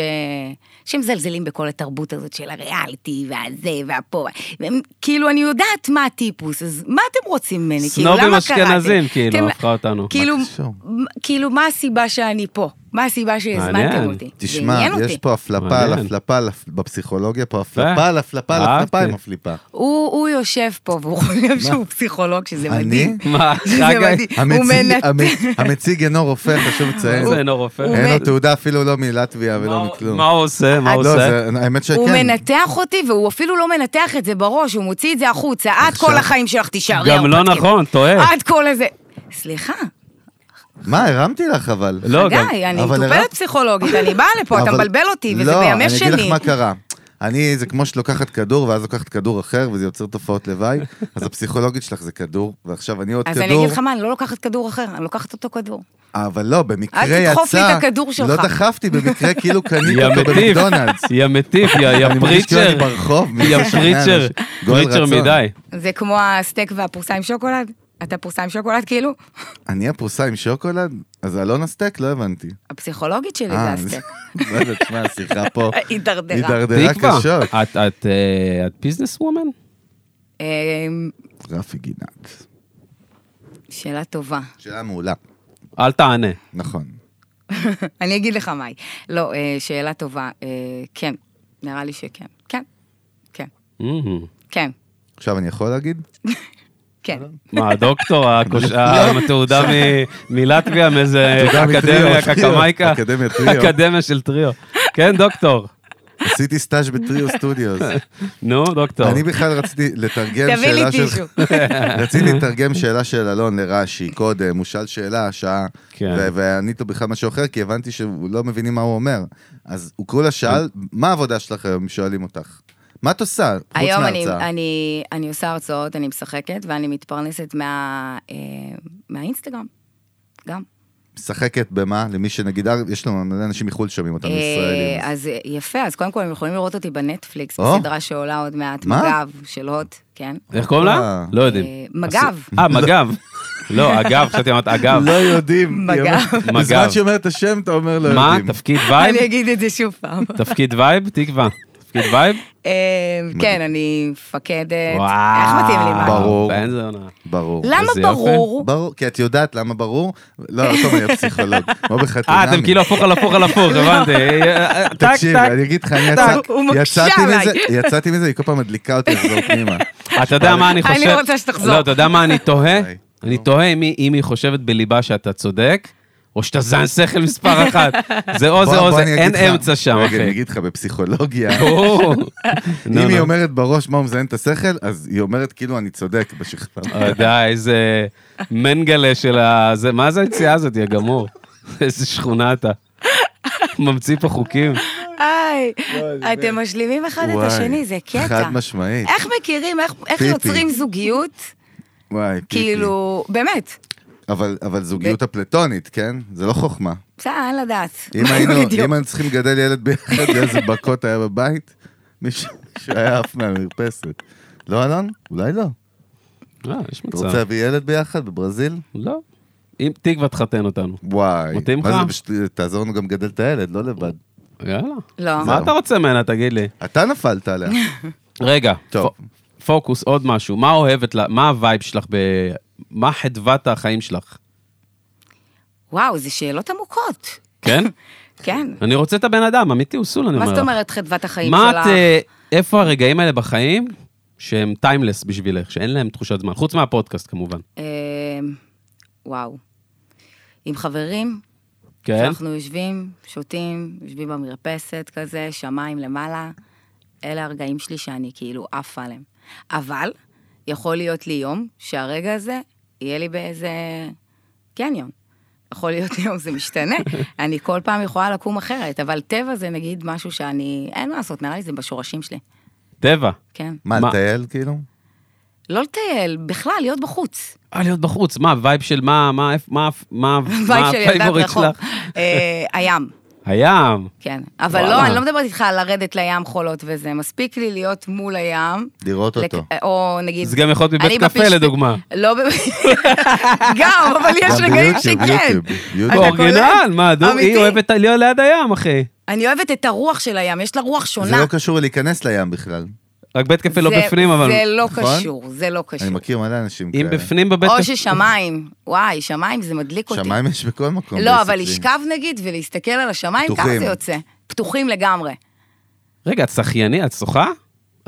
Speaker 4: שמזלזלים בכל התרבות הזאת של הריאליטי, והזה, והפה, והם, כאילו, אני יודעת מה הטיפוס, אז מה אתם רוצים ממני? כאילו,
Speaker 1: סנובים
Speaker 4: למה קראתם?
Speaker 1: אשכנזים, כאילו,
Speaker 4: אתם-
Speaker 1: הפכה אותנו.
Speaker 4: כאילו,
Speaker 2: קשור?
Speaker 4: כאילו, מה הסיבה שאני פה? מה הסיבה שהזמנתם
Speaker 1: מעניין.
Speaker 4: אותי? זה
Speaker 2: תשמע,
Speaker 4: עניין
Speaker 2: יש
Speaker 4: אותי.
Speaker 2: פה הפלפה על
Speaker 1: מעניין.
Speaker 2: הפלפה על הפ- בפסיכולוגיה, פה הפלפה על הפלפה על
Speaker 1: אהבתי.
Speaker 2: הפלפה עם הפליפה.
Speaker 4: הוא הוא יושב פה והוא חושב שהוא פסיכולוג, שזה
Speaker 2: אני?
Speaker 4: מדהים.
Speaker 1: מה,
Speaker 4: שזה
Speaker 1: חגי?
Speaker 4: מדהים. הוא
Speaker 2: המציג-
Speaker 4: מנתק.
Speaker 2: המ- המציג אינו רופא, חשוב לציין.
Speaker 1: איזה אינו רופא.
Speaker 4: הוא-
Speaker 2: אין לו
Speaker 4: מ-
Speaker 2: תעודה אפילו לא מלטביה ולא
Speaker 1: מה-
Speaker 2: מכלום.
Speaker 1: מה הוא עושה? מה הוא
Speaker 2: לא,
Speaker 1: עושה?
Speaker 2: זה- האמת שכן.
Speaker 4: הוא מנתח אותי והוא אפילו לא מנתח את זה בראש, הוא מוציא את זה החוצה. את
Speaker 2: עכשיו-
Speaker 4: כל החיים שלך תישארי
Speaker 1: גם לא
Speaker 4: הרפתקית.
Speaker 1: נכון, טועה.
Speaker 4: את כל הזה. סליחה,
Speaker 2: מה, הרמתי לך אבל.
Speaker 1: לא, גם...
Speaker 4: גיא, אני
Speaker 2: אבל
Speaker 4: מטופלת
Speaker 2: הרמת-
Speaker 4: פסיכולוגית, אני באה לפה, אתה
Speaker 2: אבל-
Speaker 4: מבלבל אותי, וזה בימי
Speaker 2: לא, אני אגיד
Speaker 4: שני.
Speaker 2: לך מה קרה. אני, זה כמו שלוקחת כדור, ואז לוקחת כדור אחר, וזה יוצר תופעות לוואי, אז הפסיכולוגית שלך זה כדור, ועכשיו אני עוד
Speaker 4: אז
Speaker 2: כדור.
Speaker 4: אני אגיד לך מה, אני לא לוקחת כדור אחר, אני לוקחת אותו כדור.
Speaker 2: אבל לא, במקרה יצא...
Speaker 4: אל תדחוף לי את הכדור
Speaker 2: לא
Speaker 4: שלך.
Speaker 2: דחפתי, במקרה כאילו קניתי
Speaker 1: יא
Speaker 2: אותו
Speaker 1: מטיף,
Speaker 2: במקדונלדס.
Speaker 1: יא מטיף, יא יא
Speaker 2: אני מרגיש כאילו אני
Speaker 1: פריצ'ר,
Speaker 2: ברחוב. מי
Speaker 1: יא
Speaker 2: זה שומע
Speaker 1: פריצ'ר,
Speaker 2: אנשים? גואל
Speaker 1: פריצ'ר
Speaker 2: רצון.
Speaker 1: מדי.
Speaker 4: זה כמו הסטייק והפרוסה עם שוקולד? אתה פרוסה עם שוקולד כאילו?
Speaker 2: אני הפרוסה עם שוקולד? אז אלונה סטייק? לא הבנתי.
Speaker 4: הפסיכולוגית שלי זה
Speaker 2: אה,
Speaker 4: הסטייק.
Speaker 2: לא יודעת, שמע, השיחה פה
Speaker 4: הידרדרה.
Speaker 2: הידרדרה
Speaker 1: תקווה,
Speaker 2: קשות.
Speaker 1: את- את, אה, את ביזנס וומן?
Speaker 4: אמ,
Speaker 2: רפי גינת.
Speaker 4: שאלה טובה.
Speaker 2: שאלה מעולה.
Speaker 1: אל תענה.
Speaker 2: נכון.
Speaker 4: אני אגיד לך מהי. לא, אה, שאלה טובה. אה, כן, נראה לי שכן. כן, כן,
Speaker 1: Mm.
Speaker 4: כן,
Speaker 2: עכשיו אני יכול להגיד?
Speaker 4: כן.
Speaker 1: מה, הדוקטור,
Speaker 2: לא.
Speaker 1: הקוש- ה- עם התעודה מ- מלטביה, מאיזה
Speaker 2: תעודה מטריו,
Speaker 1: אקדמיה,
Speaker 2: טריו,
Speaker 1: קקמייקה?
Speaker 2: אקדמיה טריו.
Speaker 1: אקדמיה של טריו. כן, דוקטור.
Speaker 2: עשיתי סטאז' בטריו סטודיוס.
Speaker 1: נו, דוקטור.
Speaker 2: אני בכלל רציתי לתרגם
Speaker 4: תביא לי
Speaker 2: שאלה של...
Speaker 4: טישו.
Speaker 2: רציתי לתרגם שאלה של אלון לרש"י קודם, הוא שאל שאלה, שעה,
Speaker 1: כן.
Speaker 2: ו- ועניתי בכלל משהו אחר, כי הבנתי שהוא לא מבינים מה הוא אומר. אז הוא כולה שאל, מה העבודה שלך היום, אם שואלים אותך? מה את עושה, חוץ
Speaker 4: היום אני,
Speaker 2: מההרצאה?
Speaker 4: אני, אני עושה הרצאות, אני משחקת, ואני מתפרנסת מה, אה, מהאינסטגרם, גם.
Speaker 2: משחקת במה? למי שנגיד, אה, יש לנו מלא אנשים מחו"ל שומעים אותנו,
Speaker 4: אה,
Speaker 2: ישראלים.
Speaker 4: אז אה, יפה, אז קודם כל הם יכולים לראות אותי בנטפליקס,
Speaker 2: או.
Speaker 4: בסדרה שעולה עוד מעט,
Speaker 2: מה?
Speaker 4: מג"ב של הוט, כן.
Speaker 1: איך קוראים לה?
Speaker 2: אה.
Speaker 1: לא יודעים.
Speaker 4: אה, מג"ב.
Speaker 1: אה, מג"ב. לא, אגב, חשבתי אמרת אגב.
Speaker 2: לא יודעים.
Speaker 4: מג"ב.
Speaker 2: היא אומרת-
Speaker 1: מג"ב.
Speaker 2: בזמן שהיא אומרת את השם, אתה אומר לא
Speaker 1: מה,
Speaker 2: יודעים.
Speaker 1: תפקיד וייב?
Speaker 4: אני אגיד את זה שוב פעם.
Speaker 1: תפקיד וייב? תקווה. תפקיד וייב?
Speaker 4: אה, כן, אני מפקדת.
Speaker 1: וואו.
Speaker 4: אה, איך מתאים לי מה?
Speaker 2: ברור.
Speaker 1: אין זה עונה.
Speaker 2: ברור.
Speaker 4: למה
Speaker 1: איזה
Speaker 4: ברור?
Speaker 2: ברור, כי את יודעת למה ברור. לא, לא טוב, אני פסיכולוג. כמו בחתונמי.
Speaker 1: אה, אתם כאילו הפוך על הפוך על הפוך, הבנתי. אה, טק,
Speaker 2: תקשיב,
Speaker 1: טק.
Speaker 2: אני אגיד לך, אני
Speaker 4: טק,
Speaker 2: יצא-
Speaker 4: הוא מקשה
Speaker 2: יצאתי
Speaker 4: עליי.
Speaker 2: מזה, יצאתי מזה, היא כל פעם מדליקה אותי לחזור פנימה.
Speaker 1: אתה יודע מה אני
Speaker 4: אני
Speaker 1: חושב?
Speaker 4: רוצה שתחזור.
Speaker 1: לא, אתה יודע מה אני תוהה?
Speaker 2: די.
Speaker 1: אני תוהה אם היא- אם היא חושבת בליבה שאתה צודק, או שאתה זן שכל מספר אחת. זה או
Speaker 2: בוא-
Speaker 1: זה או
Speaker 2: בוא
Speaker 1: זה,
Speaker 2: אני
Speaker 1: אין
Speaker 2: אגיד לך-
Speaker 1: אמצע שם,
Speaker 2: רגע, אני
Speaker 1: אחי.
Speaker 2: אגיד לך, בפסיכולוגיה,
Speaker 1: ברור. לא, נו,
Speaker 2: אם היא
Speaker 1: נו.
Speaker 2: אומרת בראש מה הוא מזיין את השכל, אז היא אומרת כאילו אני צודק בשכבה.
Speaker 1: אה, די, איזה מנגלה של ה... זה- מה זה היציאה הזאת, יא גמור? איזה שכונה אתה. ממציא פה חוקים.
Speaker 4: היי, אתם משלימים אחד את
Speaker 2: וואי,
Speaker 4: השני, זה קטע.
Speaker 2: חד משמעית.
Speaker 4: איך מכירים, איך- איך
Speaker 2: פיפי.
Speaker 4: יוצרים זוגיות?
Speaker 2: וואי, פיפי.
Speaker 4: כאילו, באמת.
Speaker 2: אבל אבל זוגיות הפלטונית, כן? זה לא חוכמה.
Speaker 4: בסדר, אין לדעת.
Speaker 2: אם היינו,
Speaker 4: בדיוק.
Speaker 2: אם היינו צריכים לגדל ילד ביחד, איזה בקות היה בבית, מישהו שהיה עף מהמרפסת. לא, אלון? אולי לא.
Speaker 1: לא, יש
Speaker 2: אתה רוצה
Speaker 1: מצב.
Speaker 2: להביא ילד ביחד בברזיל?
Speaker 1: לא. אם תקווה תחתן אותנו.
Speaker 2: וואי.
Speaker 1: מתאים
Speaker 2: מה
Speaker 1: לך?
Speaker 2: זה בשט- תעזור לנו גם לגדל את הילד, לא לבד.
Speaker 1: יאללה.
Speaker 4: לא.
Speaker 1: מה אתה רוצה ממנה, תגיד לי?
Speaker 2: אתה נפלת עליה.
Speaker 1: רגע,
Speaker 2: טוב.
Speaker 1: פ- פוקוס, עוד משהו. מה אוהבת, לה- מה הווייב שלך, ב... מה חדוות החיים שלך?
Speaker 4: וואו, זה שאלות עמוקות.
Speaker 1: כן?
Speaker 4: כן.
Speaker 1: אני רוצה את הבן אדם, אמיתי, הוא סול, אני אומר
Speaker 4: מה
Speaker 1: לך.
Speaker 4: זאת אומרת חדוות החיים
Speaker 1: מה
Speaker 4: שלך?
Speaker 1: את, אה, איפה הרגעים האלה בחיים שהם טיימלס בשבילך, שאין להם תחושת זמן, חוץ מהפודקאסט כמובן.
Speaker 4: אה, וואו. עם חברים,
Speaker 1: כן?
Speaker 4: שאנחנו יושבים, שותים, יושבים במרפסת כזה, שמיים למעלה, אלה הרגעים שלי שאני כאילו עפה עליהם. אבל יכול להיות לי יום שהרגע הזה יהיה לי באיזה קניון. יכול להיות יום, זה משתנה. אני כל פעם יכולה לקום אחרת, אבל טבע זה נגיד משהו שאני, אין מה לעשות, נראה לי זה בשורשים שלי,
Speaker 1: טבע.
Speaker 4: כן.
Speaker 2: מה,
Speaker 1: מה?
Speaker 2: לטייל כאילו?
Speaker 4: לא לטייל, בכלל, להיות בחוץ.
Speaker 1: אה, להיות בחוץ, מה הווייב של מה, מה, איפ- מה, מה,
Speaker 4: וייב
Speaker 1: מה
Speaker 4: של ילדת
Speaker 1: הפייבוריט
Speaker 4: רחוב.
Speaker 1: שלך?
Speaker 4: אה, הים.
Speaker 1: הים.
Speaker 4: כן, אבל
Speaker 1: וואלה.
Speaker 4: לא, אני לא מדברת איתך על לרדת לים חולות וזה, מספיק לי להיות מול הים.
Speaker 2: לראות
Speaker 4: לק-
Speaker 2: אותו.
Speaker 4: או נגיד...
Speaker 1: זה גם יכול להיות בבית
Speaker 4: אני
Speaker 1: קפה,
Speaker 4: בפשפ-
Speaker 1: לדוגמה.
Speaker 4: לא ב... גם, אבל יש
Speaker 2: גם
Speaker 4: רגעים
Speaker 2: ביוטיוב,
Speaker 4: שכן.
Speaker 2: יוטיוב, יוטיוב.
Speaker 4: אתה
Speaker 2: קולט?
Speaker 1: אורגינל, מה, דו-
Speaker 4: אמיתי.
Speaker 1: היא אוהבת להיות ליד הים, אחי.
Speaker 4: אני אוהבת את הרוח של הים, יש לה רוח
Speaker 2: זה
Speaker 4: שונה.
Speaker 2: לא קשור להיכנס לים בכלל.
Speaker 1: רק בית קפה לא
Speaker 4: זה-
Speaker 1: בפנים, אבל...
Speaker 4: זה לא
Speaker 2: נכון?
Speaker 4: קשור, זה לא
Speaker 2: אני
Speaker 4: קשור.
Speaker 2: מכיר מלא אנשים כאלה.
Speaker 1: אם בפנים בבית
Speaker 4: או
Speaker 1: קפה...
Speaker 4: ששמיים, וואי, שמיים זה מדליק אותי.
Speaker 2: שמיים יש בכל מקום.
Speaker 4: לא, אבל
Speaker 2: basically.
Speaker 4: לשכב נגיד ולהסתכל על השמיים, ככה
Speaker 2: פתוחים.
Speaker 4: זה יוצא. פתוחים לגמרי.
Speaker 1: רגע, את שחיינית? את שוחה?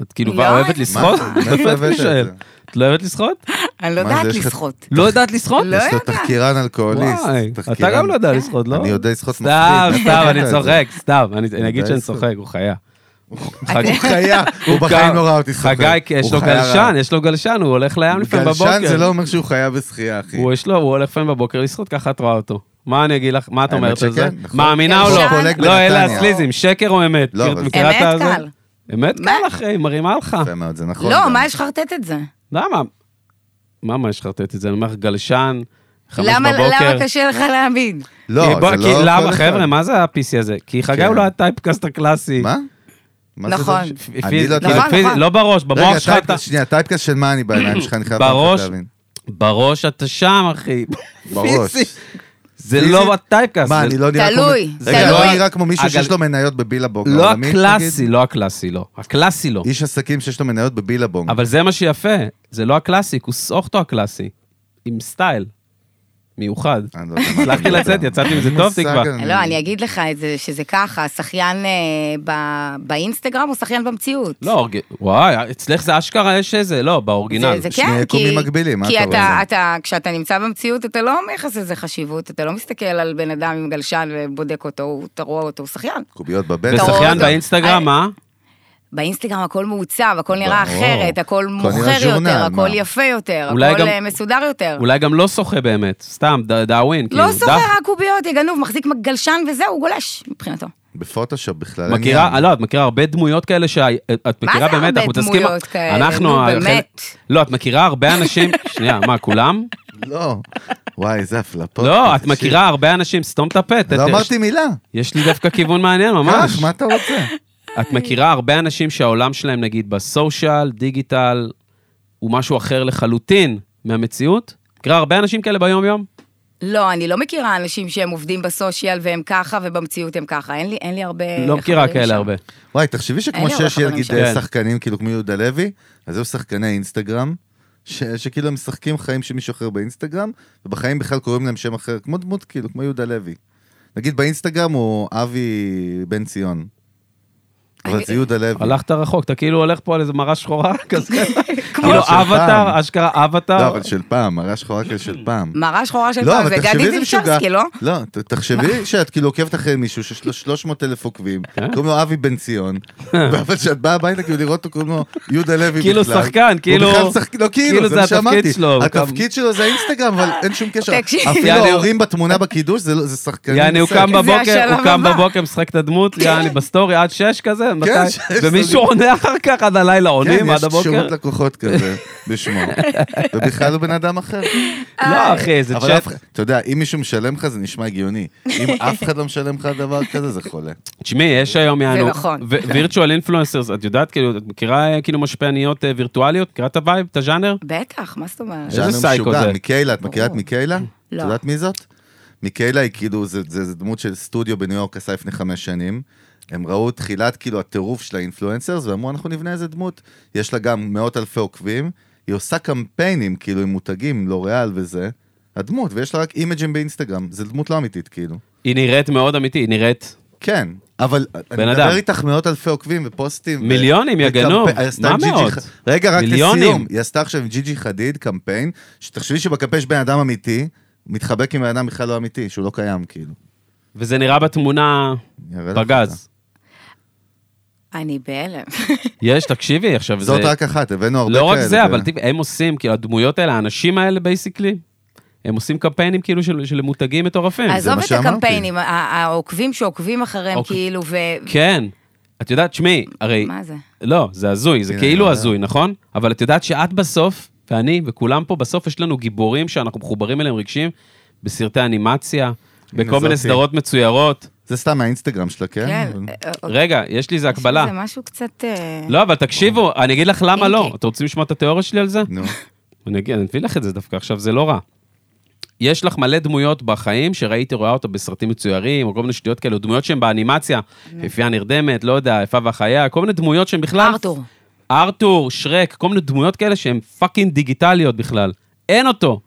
Speaker 1: את כאילו
Speaker 4: לא,
Speaker 1: באה, אוהבת
Speaker 4: אני-
Speaker 1: לשחות?
Speaker 2: מה? מאיפה
Speaker 1: באמת
Speaker 2: הבאת את
Speaker 1: שואל.
Speaker 2: זה?
Speaker 1: את לא אוהבת לשחות?
Speaker 4: אני לא
Speaker 2: מה,
Speaker 4: יודעת
Speaker 2: זה יש לך-
Speaker 4: לשחות.
Speaker 1: לא יודעת לשחות?
Speaker 4: לא. כן.
Speaker 2: יש לו
Speaker 4: יודעת.
Speaker 2: תחקירן אלכוהוליסט.
Speaker 1: וואי, אתה
Speaker 2: תחקירן.
Speaker 1: גם לא יודע לשחות, לא?
Speaker 2: אני יודע לשחות מפחיד.
Speaker 1: סתם,
Speaker 2: מאיפה
Speaker 1: סתם,
Speaker 2: הבאת
Speaker 1: אני
Speaker 2: את זה?
Speaker 1: צוחק, סתם. אני- אני אגיד
Speaker 2: יודע
Speaker 1: שאני
Speaker 2: לשחות.
Speaker 1: צוחק, הוא חיה.
Speaker 2: הוא חיה, הוא
Speaker 1: קר.
Speaker 2: בחיים לא ראה אותי שוחק.
Speaker 1: חגי, יש לו גלשן, יש לו גלשן, הוא הולך לים לפעמים בבוקר.
Speaker 2: גלשן זה לא אומר שהוא חיה בשחייה, אחי.
Speaker 1: הוא יש לו, הוא הולך לפעמים בבוקר לשחות, ככה את רואה אותו. מה אני אגיד לך, מה את
Speaker 2: האמת
Speaker 1: אומרת על זה?
Speaker 2: שכן, נכון.
Speaker 1: מאמינה או
Speaker 4: גלשן.
Speaker 1: לא?
Speaker 4: פולג
Speaker 1: לא, אלה
Speaker 2: בנתניה.
Speaker 1: הסליזים, שקר או אמת?
Speaker 2: לא,
Speaker 1: מכיר-
Speaker 2: אבל-
Speaker 1: מכירה את
Speaker 4: אמת
Speaker 1: הזה?
Speaker 4: קל.
Speaker 1: אמת
Speaker 4: מה?
Speaker 1: קל, אחי, היא מרימה לך.
Speaker 2: יפה מאוד, זה נכון.
Speaker 4: לא,
Speaker 2: גם.
Speaker 4: מה יש חרטט את זה?
Speaker 1: למה? למה יש חרטט את זה? אני אומר לך, גלשן, חמש
Speaker 4: למה
Speaker 1: בבוקר.
Speaker 4: למה קשה לך להאמין?
Speaker 2: לא,
Speaker 1: כי אה, בוא-
Speaker 2: זה
Speaker 1: כי
Speaker 2: לא... כל
Speaker 1: למה,
Speaker 2: אחד.
Speaker 1: חבר'ה, מה זה ה-PC הזה? כי חגי
Speaker 2: כן.
Speaker 1: הוא לא הטייפקאסט הקלאסי.
Speaker 2: מה? מה זה
Speaker 4: נכון.
Speaker 2: לא-
Speaker 1: פיז-
Speaker 2: אני לא...
Speaker 1: כאילו,
Speaker 4: נכון,
Speaker 1: פיז-
Speaker 4: נכון.
Speaker 1: לא בראש, במוח
Speaker 2: רגע,
Speaker 1: שלך אתה...
Speaker 2: טייפקאסט, שנייה, טייפקאסט של מה אני בעיניים שלך, אני חייב
Speaker 1: בראש,
Speaker 2: לך להבין.
Speaker 1: בראש אתה שם, אחי.
Speaker 2: בראש.
Speaker 1: פיזי. זה
Speaker 2: פיזי?
Speaker 1: לא הטייפקאסט.
Speaker 2: מה,
Speaker 1: זה-
Speaker 2: אני לא נראה כמו...
Speaker 4: תלוי,
Speaker 2: רגע,
Speaker 1: תלוי.
Speaker 2: לא נראה כמו מישהו
Speaker 1: הגל-
Speaker 2: שיש לו מניות בבילבונג.
Speaker 1: לא
Speaker 2: העולמית,
Speaker 1: הקלאסי,
Speaker 2: נגיד?
Speaker 1: לא הקלאסי, לא. הקלאסי לא.
Speaker 2: איש עסקים שיש לו מניות בבילבונג.
Speaker 1: אבל זה מה שיפה, זה לא הקלאסיק, הוא סוכטו הקלאסי. עם סטייל. מיוחד.
Speaker 2: אני לא יודע מה
Speaker 1: הצלחתי
Speaker 2: אתה
Speaker 1: לצאת,
Speaker 2: מדבר.
Speaker 1: יצאתי מזה
Speaker 2: אין
Speaker 1: טוב,
Speaker 2: מושג
Speaker 1: תקווה.
Speaker 2: על מי.
Speaker 4: לא, אני אגיד לך את זה, שזה ככה, שחיין אה, ב- באינסטגרם הוא שחיין במציאות.
Speaker 1: לא, אורג- וואי, אצלך זה אשכרה יש איזה, לא, באורגינל.
Speaker 4: זה, זה
Speaker 2: שני
Speaker 4: כן,
Speaker 2: יקומים
Speaker 4: כי,
Speaker 2: מקבילים, מה
Speaker 4: כי
Speaker 2: אתה
Speaker 4: אתה,
Speaker 2: רוצה?
Speaker 4: אתה, כשאתה נמצא במציאות, אתה לא מייחס לזה חשיבות, אתה לא מסתכל על בן אדם עם גלשן ובודק אותו, הוא- אתה רואה אותו, הוא שחיין.
Speaker 2: קוביות בבטן.
Speaker 1: ושחיין
Speaker 4: אתה-
Speaker 1: באינסטגרם, אה?
Speaker 4: אני-
Speaker 1: מה?
Speaker 4: באינסטגרם הכל מעוצב, הכל נראה
Speaker 2: ברור.
Speaker 4: אחרת, הכל
Speaker 2: הכל
Speaker 4: מוכר
Speaker 2: נראה ז'ורנל,
Speaker 4: יותר, הכל
Speaker 2: מה?
Speaker 4: יפה יותר, הכל
Speaker 1: אולי גם-
Speaker 4: אה, מסודר יותר.
Speaker 1: אולי גם לא שוחה באמת, סתם, ד- דאווין.
Speaker 4: לא
Speaker 1: כאילו,
Speaker 4: סוחר
Speaker 1: דף-
Speaker 4: רק קוביות, יגנוב, מחזיק גלשן וזהו, הוא גולש מבחינתו.
Speaker 2: בפוטושופ בכלל. אין
Speaker 1: מכירה,
Speaker 2: ים.
Speaker 1: אה, לא, את מכירה הרבה דמויות כאלה שאת
Speaker 4: מה
Speaker 1: מכירה
Speaker 4: זה הרבה
Speaker 1: באמת, אנחנו מתעסקים...
Speaker 4: דמויות כאלה?
Speaker 1: אנחנו...
Speaker 4: נו,
Speaker 1: החלק-
Speaker 4: באמת.
Speaker 1: לא, את מכירה הרבה אנשים... שנייה, מה, כולם?
Speaker 2: לא. וואי, איזה הפלפות.
Speaker 1: אה, לא, את
Speaker 2: תקשיב.
Speaker 1: מכירה הרבה אנשים, סתום את הפה. ת-
Speaker 2: לא
Speaker 1: ת-
Speaker 2: אמרתי מילה.
Speaker 1: יש לי דווקא כיוון מעניין, ממש.
Speaker 2: קח, מה אתה רוצה?
Speaker 1: את מכירה הרבה אנשים שהעולם שלהם, נגיד, בסושיאל, דיגיטל, הוא משהו אחר לחלוטין מהמציאות? מכירה הרבה אנשים כאלה ביום-יום?
Speaker 4: לא, אני לא מכירה אנשים שהם עובדים בסושיאל והם ככה, ובמציאות הם ככה. אין לי, אין לי הרבה...
Speaker 1: לא מכירה
Speaker 4: חברים
Speaker 1: כאלה
Speaker 4: שם.
Speaker 1: הרבה.
Speaker 2: וואי, תחשבי
Speaker 4: אין
Speaker 2: שכמו
Speaker 4: לי הרבה
Speaker 2: שיש
Speaker 4: חברים
Speaker 2: נגיד
Speaker 4: שם.
Speaker 1: כן.
Speaker 2: שחקנים, כאילו כמו יהודה לוי, אז זהו שחקני אינסטגרם, ש- שכאילו הם משחקים חיים של מישהו אחר באינסטגרם, ובחיים בכלל קוראים להם שם אחר, כמו דמות, כאילו, כמו יהודה לוי. נגיד באינסטגרם הוא אבי בן ציון. אבל
Speaker 4: אני-
Speaker 2: זה יהודה לוי.
Speaker 1: הלכת רחוק, אתה כאילו הולך פה על איזה מראה שחורה כזה.
Speaker 4: כמו-
Speaker 1: כאילו
Speaker 2: של
Speaker 1: אבטאר,
Speaker 2: פעם.
Speaker 1: אשכרה
Speaker 2: לא,
Speaker 1: אבטאר.
Speaker 2: אבל של פעם, מראה שחורה כזה של פעם.
Speaker 4: מראה שחורה של
Speaker 2: לא,
Speaker 4: פעם, זה
Speaker 2: אבל
Speaker 4: גדי
Speaker 2: תחשבי איזה משוגע.
Speaker 4: זילצ'רסקי, לא?
Speaker 2: לא, ת- תחשבי שאת כאילו עוקבת אחרי מישהו שיש לו 300 אלף עוקבים,
Speaker 1: אה?
Speaker 2: קוראים לו אבי בן ציון, אבל כשאת באה הביתה כאילו לראות אותו קוראים לו יהודה לוי בכלל.
Speaker 1: כאילו שחקן,
Speaker 2: הוא
Speaker 1: כאילו-
Speaker 2: בכלל שחק- לא
Speaker 1: כאילו
Speaker 2: כאילו,
Speaker 1: זה
Speaker 2: זה מה
Speaker 1: התפקיד
Speaker 2: שאמרתי.
Speaker 1: שלו, הוא קם-
Speaker 2: התפקיד שלו זה האינסטגרם, אבל אין שום קשר.
Speaker 4: תקשיב.
Speaker 2: אפילו
Speaker 1: יעני, הוא-
Speaker 2: ההורים בתמונה בקידוש זה לא- זה שחקנים.
Speaker 1: יעני, הוא
Speaker 2: בסרט.
Speaker 1: קם
Speaker 4: זה
Speaker 1: בבוקר,
Speaker 4: השלב
Speaker 1: הוא קם
Speaker 4: הבא.
Speaker 1: בבוקר, משחק את הדמות, יעני, בסטורי עד שש כזה, מתי?
Speaker 2: כן, שש,
Speaker 1: ומישהו
Speaker 2: סודי.
Speaker 1: עונה אחר כך עד הלילה,
Speaker 2: כן,
Speaker 1: עונים
Speaker 2: יש
Speaker 1: עד הבוקר.
Speaker 2: שירות לקוחות כזה, בשמו. ובכלל הוא בן אדם אחר.
Speaker 1: לא, אחי, זה
Speaker 2: אבל
Speaker 1: צ'אט.
Speaker 2: אף אחד- אתה יודע, אם מישהו משלם לך זה נשמע הגיוני. אם אף אחד לא משלם לך דבר כזה, זה חולה.
Speaker 1: תשמעי, יש היום, יענו,
Speaker 4: נכון.
Speaker 1: וירטואל אינפלואנסרס, את יודעת, כאילו, את מכירה אה, כאילו משפיעניות אה, וירטואליות? מכירה את הווייב, את הז'אנר?
Speaker 4: בטח, מה זאת אומרת?
Speaker 1: איזה
Speaker 2: ז'אנר
Speaker 1: סייקו
Speaker 2: משוגע,
Speaker 1: זה?
Speaker 2: מיקיילה, את מכירה את
Speaker 4: ברור.
Speaker 2: מיקיילה?
Speaker 4: לא.
Speaker 2: את יודעת מי זאת? מיקיילה היא כאילו, זה- זה זה דמות של סטודיו בניו יורק עשה לפני חמש שנים. הם ראו תחילת כאילו הטירוף של האינפלואנסרס, ואמרו, אנחנו נבנה איזה דמות. יש לה גם מאות אלפי עוקבים, היא עושה קמפיינים, כאילו, עם מותגים, לוריאל וזה. הדמות, ויש לה רק אימג'ים באינסטגרם, זו דמות לא אמיתית, כאילו.
Speaker 1: היא נראית מאוד אמיתי, היא נראית...
Speaker 2: כן, אבל אני
Speaker 1: אדם.
Speaker 2: מדבר איתך מאות אלפי עוקבים ופוסטים. ו-
Speaker 1: מיליונים, יא
Speaker 2: וקמפיין-
Speaker 1: גנוב.
Speaker 2: היא עשתה
Speaker 1: מה
Speaker 2: עם ג'י ג'י
Speaker 1: מאות?
Speaker 2: ח- רגע, רק
Speaker 1: מיליונים.
Speaker 2: לסיום, היא עשתה עכשיו עם ג'י ג'י חדיד קמפיין, שתחשבי שבקמפיין יש בן אדם אמיתי, מתחבק עם בן אדם בכלל לא אמיתי, שהוא לא קיים, כאילו.
Speaker 1: וזה נראה בתמונה
Speaker 2: אני אראה לך אותה.
Speaker 1: פגז.
Speaker 4: אני בהלם.
Speaker 2: כן,
Speaker 1: יש, תקשיבי עכשיו, זה...
Speaker 2: זאת רק אחת, הבאנו הרבה
Speaker 1: לא
Speaker 2: כאלה. כן.
Speaker 1: רק זה, אבל
Speaker 2: ו-
Speaker 1: תראי, הם עושים, כאילו, הדמויות האלה, האנשים האלה, בייסיקלי, הם עושים קמפיינים כאילו של של מותגים מטורפים.
Speaker 2: זה
Speaker 4: עזוב
Speaker 2: מה
Speaker 4: את
Speaker 2: שאמרתי.
Speaker 4: הקמפיינים, ה- העוקבים שעוקבים אחריהם,
Speaker 1: אוק-
Speaker 4: כאילו, ו...
Speaker 1: כן. את יודעת, תשמעי, הרי...
Speaker 4: מה זה?
Speaker 1: לא, זה הזוי, זה
Speaker 2: הנה,
Speaker 1: כאילו
Speaker 2: אני
Speaker 1: הזוי, נכון? אבל את יודעת שאת בסוף, ואני וכולם פה, בסוף יש לנו גיבורים שאנחנו מחוברים אליהם רגשיים, בסרטי אנימציה, בכל מיני
Speaker 2: זאתי.
Speaker 1: סדרות מצוירות.
Speaker 2: זה סתם מהאינסטגרם שלה, כן?
Speaker 4: כן,
Speaker 2: אבל-
Speaker 4: אה, אה,
Speaker 1: רגע, יש לי איזה
Speaker 4: יש
Speaker 1: הקבלה.
Speaker 4: לזה משהו קצת... אה,
Speaker 1: לא, אבל תקשיבו, אני אגיד לך למה לא.
Speaker 4: אינקי.
Speaker 1: אתם רוצים לשמוע את התיאוריה שלי על זה?
Speaker 2: נו,
Speaker 1: אני אגיד, אני אביא לך את זה דווקא עכשיו, זה לא רע. יש לך מלא דמויות בחיים שראיתי, רואה אותה בסרטים מצוירים, או כל מיני שטויות כאלו, דמויות שהן באנימציה, יפייה נרדמת, לא יודע, יפה והחיה, כל מיני דמויות שהן בכלל...
Speaker 4: ארתור.
Speaker 1: ארתור, שרק, כל מיני דמויות כאלה שהן פאקינג דיגיטליות בכלל. אין אותו.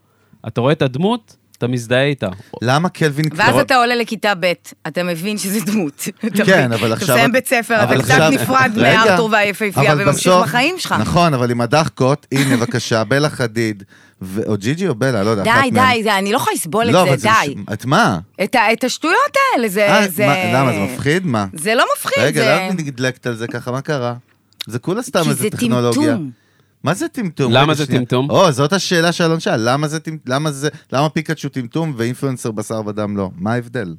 Speaker 1: אתה רואה את הדמות, אתה מזדהה איתה.
Speaker 4: לא
Speaker 2: למה קלווין
Speaker 4: ואז
Speaker 2: קלאוד-
Speaker 4: אתה עולה לכיתה ב', אתה מבין שזה דמות. אתה
Speaker 2: כן,
Speaker 4: מבין?
Speaker 2: אבל
Speaker 4: אתה
Speaker 2: עכשיו...
Speaker 4: מסיים בית ספר,
Speaker 2: אבל
Speaker 4: אתה קצת
Speaker 2: עכשיו-
Speaker 4: נפרד
Speaker 2: רגע,
Speaker 4: מארתור והיפהפייה
Speaker 2: אבל
Speaker 4: וממשיך
Speaker 2: בסוף-
Speaker 4: בחיים שלך.
Speaker 2: נכון, אבל עם הדחקות, הנה, בבקשה, בלה חדיד, ו- או ג'יג'י או בלה, לא יודע, אחת
Speaker 4: די,
Speaker 2: מהן.
Speaker 4: די, זה- אני לא יכולה לסבול
Speaker 2: לא, אבל
Speaker 4: את זה, די.
Speaker 2: ש- את מה?
Speaker 4: את ה- את השטויות האלה, זה...
Speaker 2: אה,
Speaker 4: זה-
Speaker 2: מה- למה, זה מפחיד? מה?
Speaker 4: זה לא מפחיד,
Speaker 2: רגע,
Speaker 4: זה-
Speaker 2: למה את נדלקת על זה ככה? מה קרה? זה כולה סתם
Speaker 4: כי
Speaker 2: איזה
Speaker 4: זה
Speaker 2: טכנולוגיה.
Speaker 4: טמטום.
Speaker 2: מה זה טמטום?
Speaker 1: למה
Speaker 2: רגע,
Speaker 1: זה
Speaker 2: שנייה.
Speaker 1: טמטום?
Speaker 2: או, זאת השאלה שאלון שאל, למה זה טמטום? למה זה... למה פיקאצ'ו טמטום ואינפלואנסר בשר ודם לא? מה ההבדל?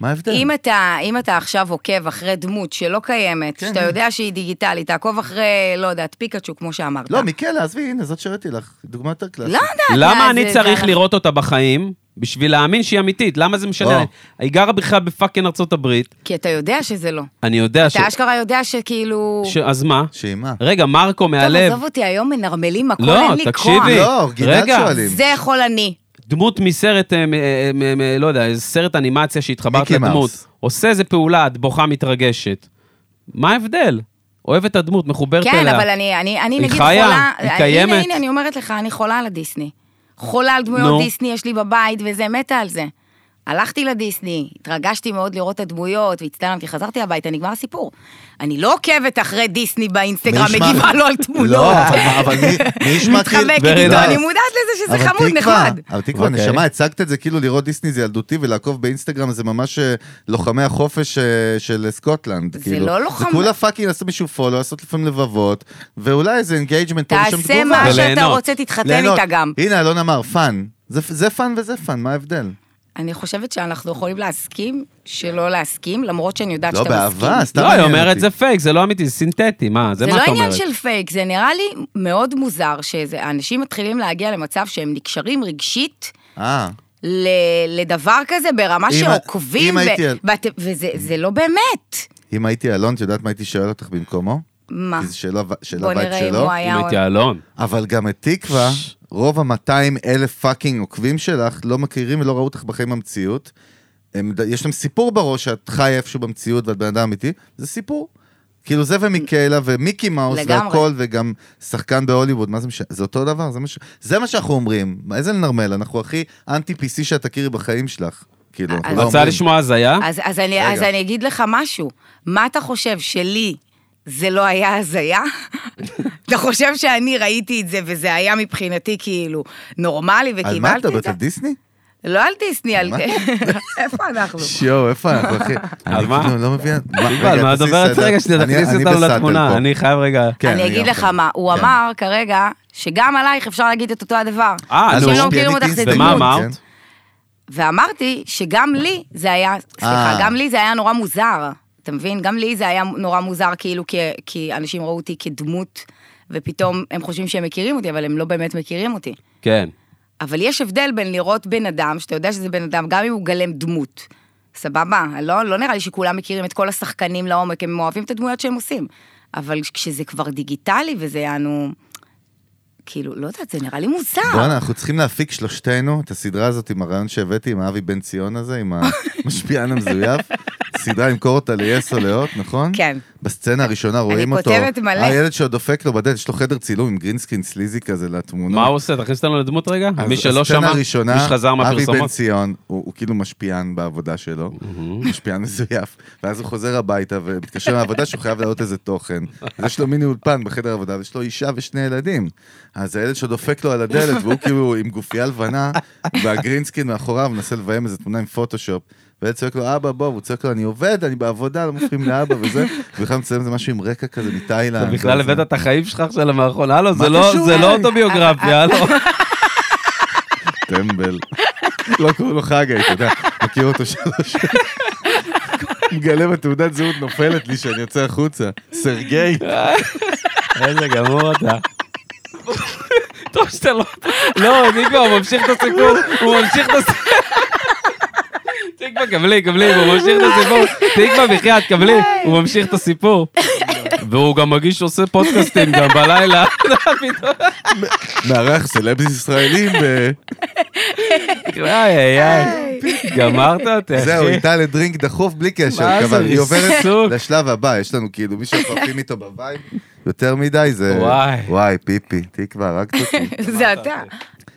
Speaker 2: מה ההבדל?
Speaker 4: אם אתה, אם אתה עכשיו עוקב אחרי דמות שלא קיימת,
Speaker 2: כן.
Speaker 4: שאתה יודע שהיא דיגיטלית, תעקוב אחרי, לא יודעת, פיקאצ'ו, כמו שאמרת.
Speaker 2: לא, מיקלה, עזבי, הנה, זאת שהראיתי לך. דוגמה יותר קלאסית.
Speaker 4: לא יודעת.
Speaker 1: למה
Speaker 4: מה,
Speaker 1: אני
Speaker 4: זה-
Speaker 1: צריך
Speaker 4: זה-
Speaker 1: לראות אותה בחיים בשביל להאמין שהיא אמיתית? למה זה משנה?
Speaker 2: או.
Speaker 4: לא.
Speaker 1: היא גרה בכלל בפאקינג ארצות הברית,
Speaker 4: כי אתה יודע שזה לא.
Speaker 1: אני יודע ש...
Speaker 4: אתה אשכרה יודע שכאילו...
Speaker 1: ש- אז מה?
Speaker 2: שהיא מה?
Speaker 1: רגע, מרקו
Speaker 4: טוב,
Speaker 1: מהלב,
Speaker 4: עזוב אותי, היום מנרמלים הכל,
Speaker 1: לא,
Speaker 4: אין לי כוח.
Speaker 1: תקשיבי.
Speaker 2: לא, גלעד
Speaker 1: רגע.
Speaker 2: שואלים.
Speaker 4: זה יכול אני.
Speaker 1: דמות מסרט, אה, מ- אה, מ- מ- לא יודע, איזה סרט אנימציה שהתחברת
Speaker 2: מיקי מאוס.
Speaker 1: לדמות, עושה איזה פעולה, את בוכה מתרגשת. מה ההבדל? אוהב את הדמות, מחוברת אליה.
Speaker 4: כן, אבל אני, אני, אני
Speaker 1: היא
Speaker 4: נגיד
Speaker 1: חיה,
Speaker 4: חולה...
Speaker 1: היא
Speaker 4: הנה,
Speaker 1: קיימת.
Speaker 4: הנה, הנה, אני אומרת לך, אני חולה על הדיסני. חולה על
Speaker 1: נו.
Speaker 4: דמויות דיסני, יש לי בבית, וזה, מתה על זה. הלכתי לדיסני, התרגשתי מאוד לראות את הדמויות, והצטלמתי, חזרתי הביתה, נגמר הסיפור. אני לא עוקבת אחרי דיסני באינסטגרם,
Speaker 2: מי ישמע-
Speaker 4: מגיבה לו על תמונות.
Speaker 2: לא, אבל- אבל מי- מי ישמע כאילו...
Speaker 4: מתחבקת
Speaker 1: ורד,
Speaker 4: איתו,
Speaker 1: אה.
Speaker 4: אני מודעת לזה שזה
Speaker 2: אבל
Speaker 4: חמוד,
Speaker 2: תקווה,
Speaker 4: נחמד.
Speaker 2: אבל תקווה,
Speaker 1: אוקיי.
Speaker 2: נשמה, הצגת את זה כאילו לראות דיסני זה ילדותי ולעקוב באינסטגרם זה ממש אה, לוחמי החופש אה, של סקוטלנד.
Speaker 4: זה
Speaker 2: כאילו.
Speaker 4: לא לוחמ-
Speaker 2: זה כולה פאקינג לעשות מישהו פולו, לעשות לפעמים לבבות, ואולי איזה אינגייג'מנט פה ושם
Speaker 4: תעשה
Speaker 2: תגובה.
Speaker 4: מה שאתה
Speaker 1: וליהנות.
Speaker 4: רוצה, תתחתן
Speaker 2: ליהנות.
Speaker 4: איתה גם.
Speaker 2: הנה, אלון אמר, פאן. זה- זה פאן וזה פאן, מה ההבדל?
Speaker 4: אני חושבת שאנחנו יכולים להסכים שלא להסכים, למרות שאני יודעת
Speaker 2: לא,
Speaker 4: שאתה מסכים.
Speaker 2: באהבה, סתם
Speaker 1: לא, היא
Speaker 2: מעניין
Speaker 1: אומרת
Speaker 2: אותי.
Speaker 1: זה פייק, זה לא אמיתי, זה סינתטי, מה, זה
Speaker 4: זה
Speaker 1: מה את
Speaker 4: לא
Speaker 1: אומרת?
Speaker 4: עניין של פייק, זה נראה לי מאוד מוזר שאנשים מתחילים להגיע למצב שהם נקשרים רגשית
Speaker 2: אה,
Speaker 4: ל- לדבר כזה ברמה
Speaker 2: אם-
Speaker 4: שעוקבים,
Speaker 2: אם
Speaker 4: ו-
Speaker 2: הייתי על-
Speaker 4: ואתם- וזה זה לא באמת.
Speaker 2: אם הייתי אלון, את יודעת מה הייתי שואל אותך במקומו?
Speaker 4: מה?
Speaker 2: כי זו שאלה ו- שאלה
Speaker 4: אה. בוא
Speaker 2: וייב
Speaker 4: נראה אם
Speaker 2: שלו.
Speaker 4: הוא היה...
Speaker 1: אם
Speaker 4: עוד-
Speaker 1: הייתי אלון.
Speaker 2: אבל גם את תקווה, רוב ה-200 אלף פאקינג עוקבים שלך לא מכירים ולא ראו אותך בחיים במציאות. הם, ד- יש להם סיפור בראש שאת חיה איפשהו במציאות ואת בן אדם אמיתי, זה סיפור. כאילו זה ומיקלה ומיקי מאוס
Speaker 4: לגמרי.
Speaker 2: והכל, וגם שחקן בהוליווד, מה זה משנה? זה אותו דבר, זה מה, ש... זה מה שאנחנו אומרים. מה, איזה לנרמל, אנחנו הכי אנטי PC שאת תכירי בחיים שלך. כאילו, אנחנו לא
Speaker 1: רצה
Speaker 2: אומרים.
Speaker 1: לשמוע הזיה?
Speaker 4: אוקיי. אז, אז, אני,
Speaker 2: רגע.
Speaker 4: אז אני אגיד לך משהו, מה אתה חושב, שלי זה לא היה הזיה? אתה חושב שאני ראיתי את זה וזה היה מבחינתי כאילו נורמלי
Speaker 2: על מה את
Speaker 4: וקיבלתי את
Speaker 2: מדברת?
Speaker 4: זה?
Speaker 2: על דיסני?
Speaker 4: לא על דיסני, על...
Speaker 2: מה?
Speaker 4: איפה אנחנו?
Speaker 2: שיואו, איפה אנחנו, אחי? אני
Speaker 1: מה?
Speaker 2: כאילו לא מבין. מה-
Speaker 1: יובל,
Speaker 2: רגע,
Speaker 1: מה
Speaker 2: תעשי
Speaker 1: הדוברת?
Speaker 2: סדר.
Speaker 1: רגע, שנייה,
Speaker 2: אני-
Speaker 1: תכניסי
Speaker 2: אני
Speaker 1: אותנו
Speaker 2: בסאטל
Speaker 1: לתמונה,
Speaker 2: פה.
Speaker 1: אני חייב רגע...
Speaker 2: כן,
Speaker 4: אני אגיד
Speaker 2: גם
Speaker 4: לך
Speaker 2: פה.
Speaker 4: מה, הוא
Speaker 2: כן.
Speaker 4: אמר כרגע שגם עלייך אפשר להגיד את אותו הדבר.
Speaker 1: אה, נו,
Speaker 4: אנשים
Speaker 2: הוא משפיענית
Speaker 4: לא מכירים אותך, אה. זה
Speaker 2: אינסטגרם,
Speaker 1: ומה
Speaker 4: דמות.
Speaker 1: אמרת?
Speaker 2: כן.
Speaker 4: ואמרתי שגם לי זה היה, סליחה,
Speaker 2: אה.
Speaker 4: גם לי זה היה נורא מוזר, אתה מבין? גם לי זה היה נורא מוזר, כאילו, כי, כי אנשים ראו אותי כדמות, ופתאום הם חושבים שהם מכירים אותי, אבל הם לא באמת מכירים אותי.
Speaker 1: כן.
Speaker 4: אבל יש הבדל בין לראות בן אדם, שאתה יודע שזה בן אדם, גם אם הוא גלם דמות. סבבה, לא, לא נראה לי שכולם מכירים את כל השחקנים לעומק, הם אוהבים את הדמויות שהם עושים. אבל כשזה כבר דיגיטלי וזה יענו, כאילו, לא יודעת, זה נראה לי מוזר.
Speaker 2: בואנה, אנחנו צריכים להפיק שלושתנו את הסדרה הזאת עם הרעיון שהבאתי עם האבי בן ציון הזה, עם המשפיען המזויף. סדרה למכור אותה ליס או לאות, נכון?
Speaker 4: כן.
Speaker 2: בסצנה הראשונה רואים אותו.
Speaker 4: כותבת מלא.
Speaker 2: הילד שעוד דופק לו בדלת, יש לו חדר צילום עם גרינסקרין סליזי כזה לתמונות.
Speaker 1: מה הוא עושה? תכניס אותנו לדמות רגע?
Speaker 2: אז
Speaker 1: מי שלא
Speaker 2: הסצנה
Speaker 1: שמע, מי
Speaker 2: הראשונה,
Speaker 1: שחזר
Speaker 2: אבי בן
Speaker 1: מהפרסומות.
Speaker 2: ציון, הוא, הוא כאילו משפיען בעבודה שלו, משפיען מזויף, ואז הוא חוזר הביתה ומתקשר מהעבודה שהוא חייב להעלות איזה תוכן. אז יש לו מיני אולפן בחדר עבודה, ויש לו אישה ושני ילדים. אז הילד שדופק לו על הדלת, והוא כאילו עם גופייה לבנה, והגרינסקין מאחוריו מנסה לביים איזה תמונה עם פוטושופ. והילד צועק לו, אבא, בוא, והוא צועק לו, אני עובד, אני בעבודה, לא מפריעים לאבא וזה, ובכלל מצלם איזה משהו עם רקע כזה מתאילנד.
Speaker 1: אתה בכלל
Speaker 2: וזה.
Speaker 1: הבאת את החיים שלך עכשיו למערכון, הלו, זה
Speaker 2: מה
Speaker 1: לא-
Speaker 2: קשור
Speaker 1: זה לא
Speaker 2: אליי?
Speaker 4: אה,
Speaker 1: אוטוביוגרפיה, הלו.
Speaker 2: טמבל. לא קוראים לו חגי, אתה יודע, מכיר אותו שלוש... מגלה בתעודת זהות נופלת לי שאני יוצא החוצה. סרגי.
Speaker 1: איזה גמור אתה. טוב שאתה לא... לא, תקווה, הוא ממשיך את הסיפור, הוא ממשיך את הסיפור. תקווה, קבלי, קבלי, הוא ממשיך את הסיפור. תקווה, בחייאת, קבלי, הוא ממשיך את הסיפור. והוא גם מרגיש שעושה פודקאסטים גם בלילה.
Speaker 2: מארח סלבס ישראלים, ו-
Speaker 1: איי, איי, איי. גמרת אותי, אחי.
Speaker 2: זהו, איתה לדרינק דחוף בלי
Speaker 1: מה
Speaker 2: קשר,
Speaker 1: זה,
Speaker 2: אבל היא עוברת
Speaker 1: ריסוק.
Speaker 2: לשלב הבא, יש לנו כאילו מי שמפרקים איתו בבית, יותר מדי זה...
Speaker 1: וואי.
Speaker 2: וואי, פיפי, תקווה, הרגת אותי.
Speaker 4: זה אתה.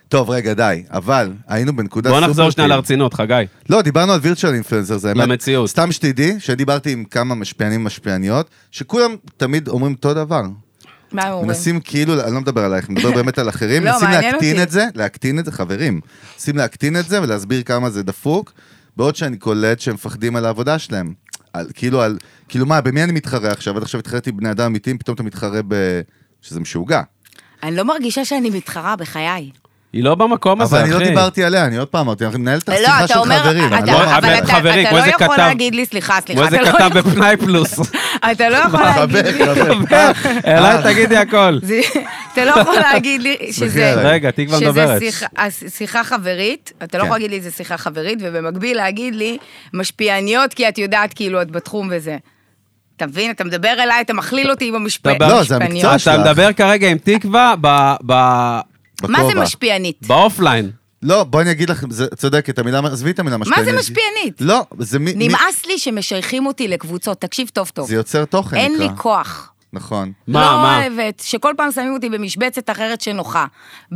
Speaker 2: טוב, רגע, די, אבל היינו בנקודה
Speaker 1: בוא
Speaker 2: סופר...
Speaker 1: נחזור שנייה
Speaker 2: כאילו.
Speaker 1: לרצינות, חגי.
Speaker 2: לא, דיברנו על וירטואל אינפלנסר, זה האמת.
Speaker 1: למציאות.
Speaker 2: סתם שתדעי, שדיברתי עם כמה משפיענים ומשפיעניות, שכולם תמיד אומרים אותו דבר.
Speaker 4: מה הם אומרים?
Speaker 2: מנסים כאילו, אני לא מדבר עלייך, אני מדבר באמת על אחרים,
Speaker 4: לא,
Speaker 2: מנסים
Speaker 4: מעניין
Speaker 2: להקטין
Speaker 4: אותי.
Speaker 2: את זה, להקטין את זה, חברים. מנסים להקטין את זה ולהסביר כמה זה דפוק, בעוד שאני קולט שהם מפחדים על העבודה שלהם. על, כאילו, על, כאילו מה, במי אני מתחרה עכשיו? עד עכשיו התחרתי בבני אדם אמיתיים, פתאום אתה מתחרה ב... שזה משוגע.
Speaker 4: אני לא מרגישה שאני מתחרה בחיי.
Speaker 1: היא לא במקום הזה,
Speaker 2: אבל
Speaker 1: אחי.
Speaker 2: אני לא דיברתי עליה, אני עוד פעם אמרתי, אנחנו ננהל את
Speaker 4: לא,
Speaker 2: השיחה
Speaker 4: אתה
Speaker 2: אה, של
Speaker 4: אומר-
Speaker 2: חברים.
Speaker 4: אתה-
Speaker 2: אני לא
Speaker 1: אבל
Speaker 2: אמרתי
Speaker 1: אתה-
Speaker 2: עליה.
Speaker 1: חברים,
Speaker 4: אתה
Speaker 1: כמו
Speaker 4: לא
Speaker 1: איזה
Speaker 4: יכול
Speaker 1: כתב.
Speaker 4: להגיד לי, סליחה, סליחה.
Speaker 1: כמו איזה
Speaker 4: אתה לא-
Speaker 1: כתב בפנאי פלוס.
Speaker 4: אתה לא יכול להגיד לי.
Speaker 2: חבר, חבר.
Speaker 1: אליי תגידי הכל.
Speaker 4: זה- אתה לא יכול להגיד לי
Speaker 2: סליחה
Speaker 4: שזה...
Speaker 2: עליי.
Speaker 1: רגע, תקווה
Speaker 4: שזה
Speaker 1: מדברת.
Speaker 4: שיחה- הש- שיחה חברית, אתה לא
Speaker 2: כן.
Speaker 4: יכול להגיד לי זה שיחה חברית, ובמקביל להגיד לי משפיעניות, כי את יודעת כאילו את בתחום וזה. אתה מבין? אתה מדבר אליי, אתה מכליל אותי עם המשפ-
Speaker 1: אתה בא-
Speaker 4: המשפיעניות.
Speaker 1: לא,
Speaker 2: זה המקצוע
Speaker 1: אתה
Speaker 2: שלך.
Speaker 1: מדבר כרגע עם תקווה ב- ב-
Speaker 4: מה זה
Speaker 2: בכובע.
Speaker 4: משפיענית?
Speaker 1: באופליין.
Speaker 2: לא, בואי אני אגיד לך, זה- צודקת, המילה, עזבי את המילה
Speaker 4: מה
Speaker 2: משפיענית.
Speaker 4: זה משפיענית?
Speaker 2: לא, זה מי... מי-
Speaker 4: נמאס לי שמשייכים אותי לקבוצות, תקשיב טוב טוב.
Speaker 2: זה יוצר תוכן,
Speaker 4: אין
Speaker 2: נקרא.
Speaker 4: לי כוח.
Speaker 2: נכון.
Speaker 1: מה,
Speaker 4: לא
Speaker 1: מה?
Speaker 4: אוהבת, שכל פעם שמים אותי במשבצת אחרת שנוחה.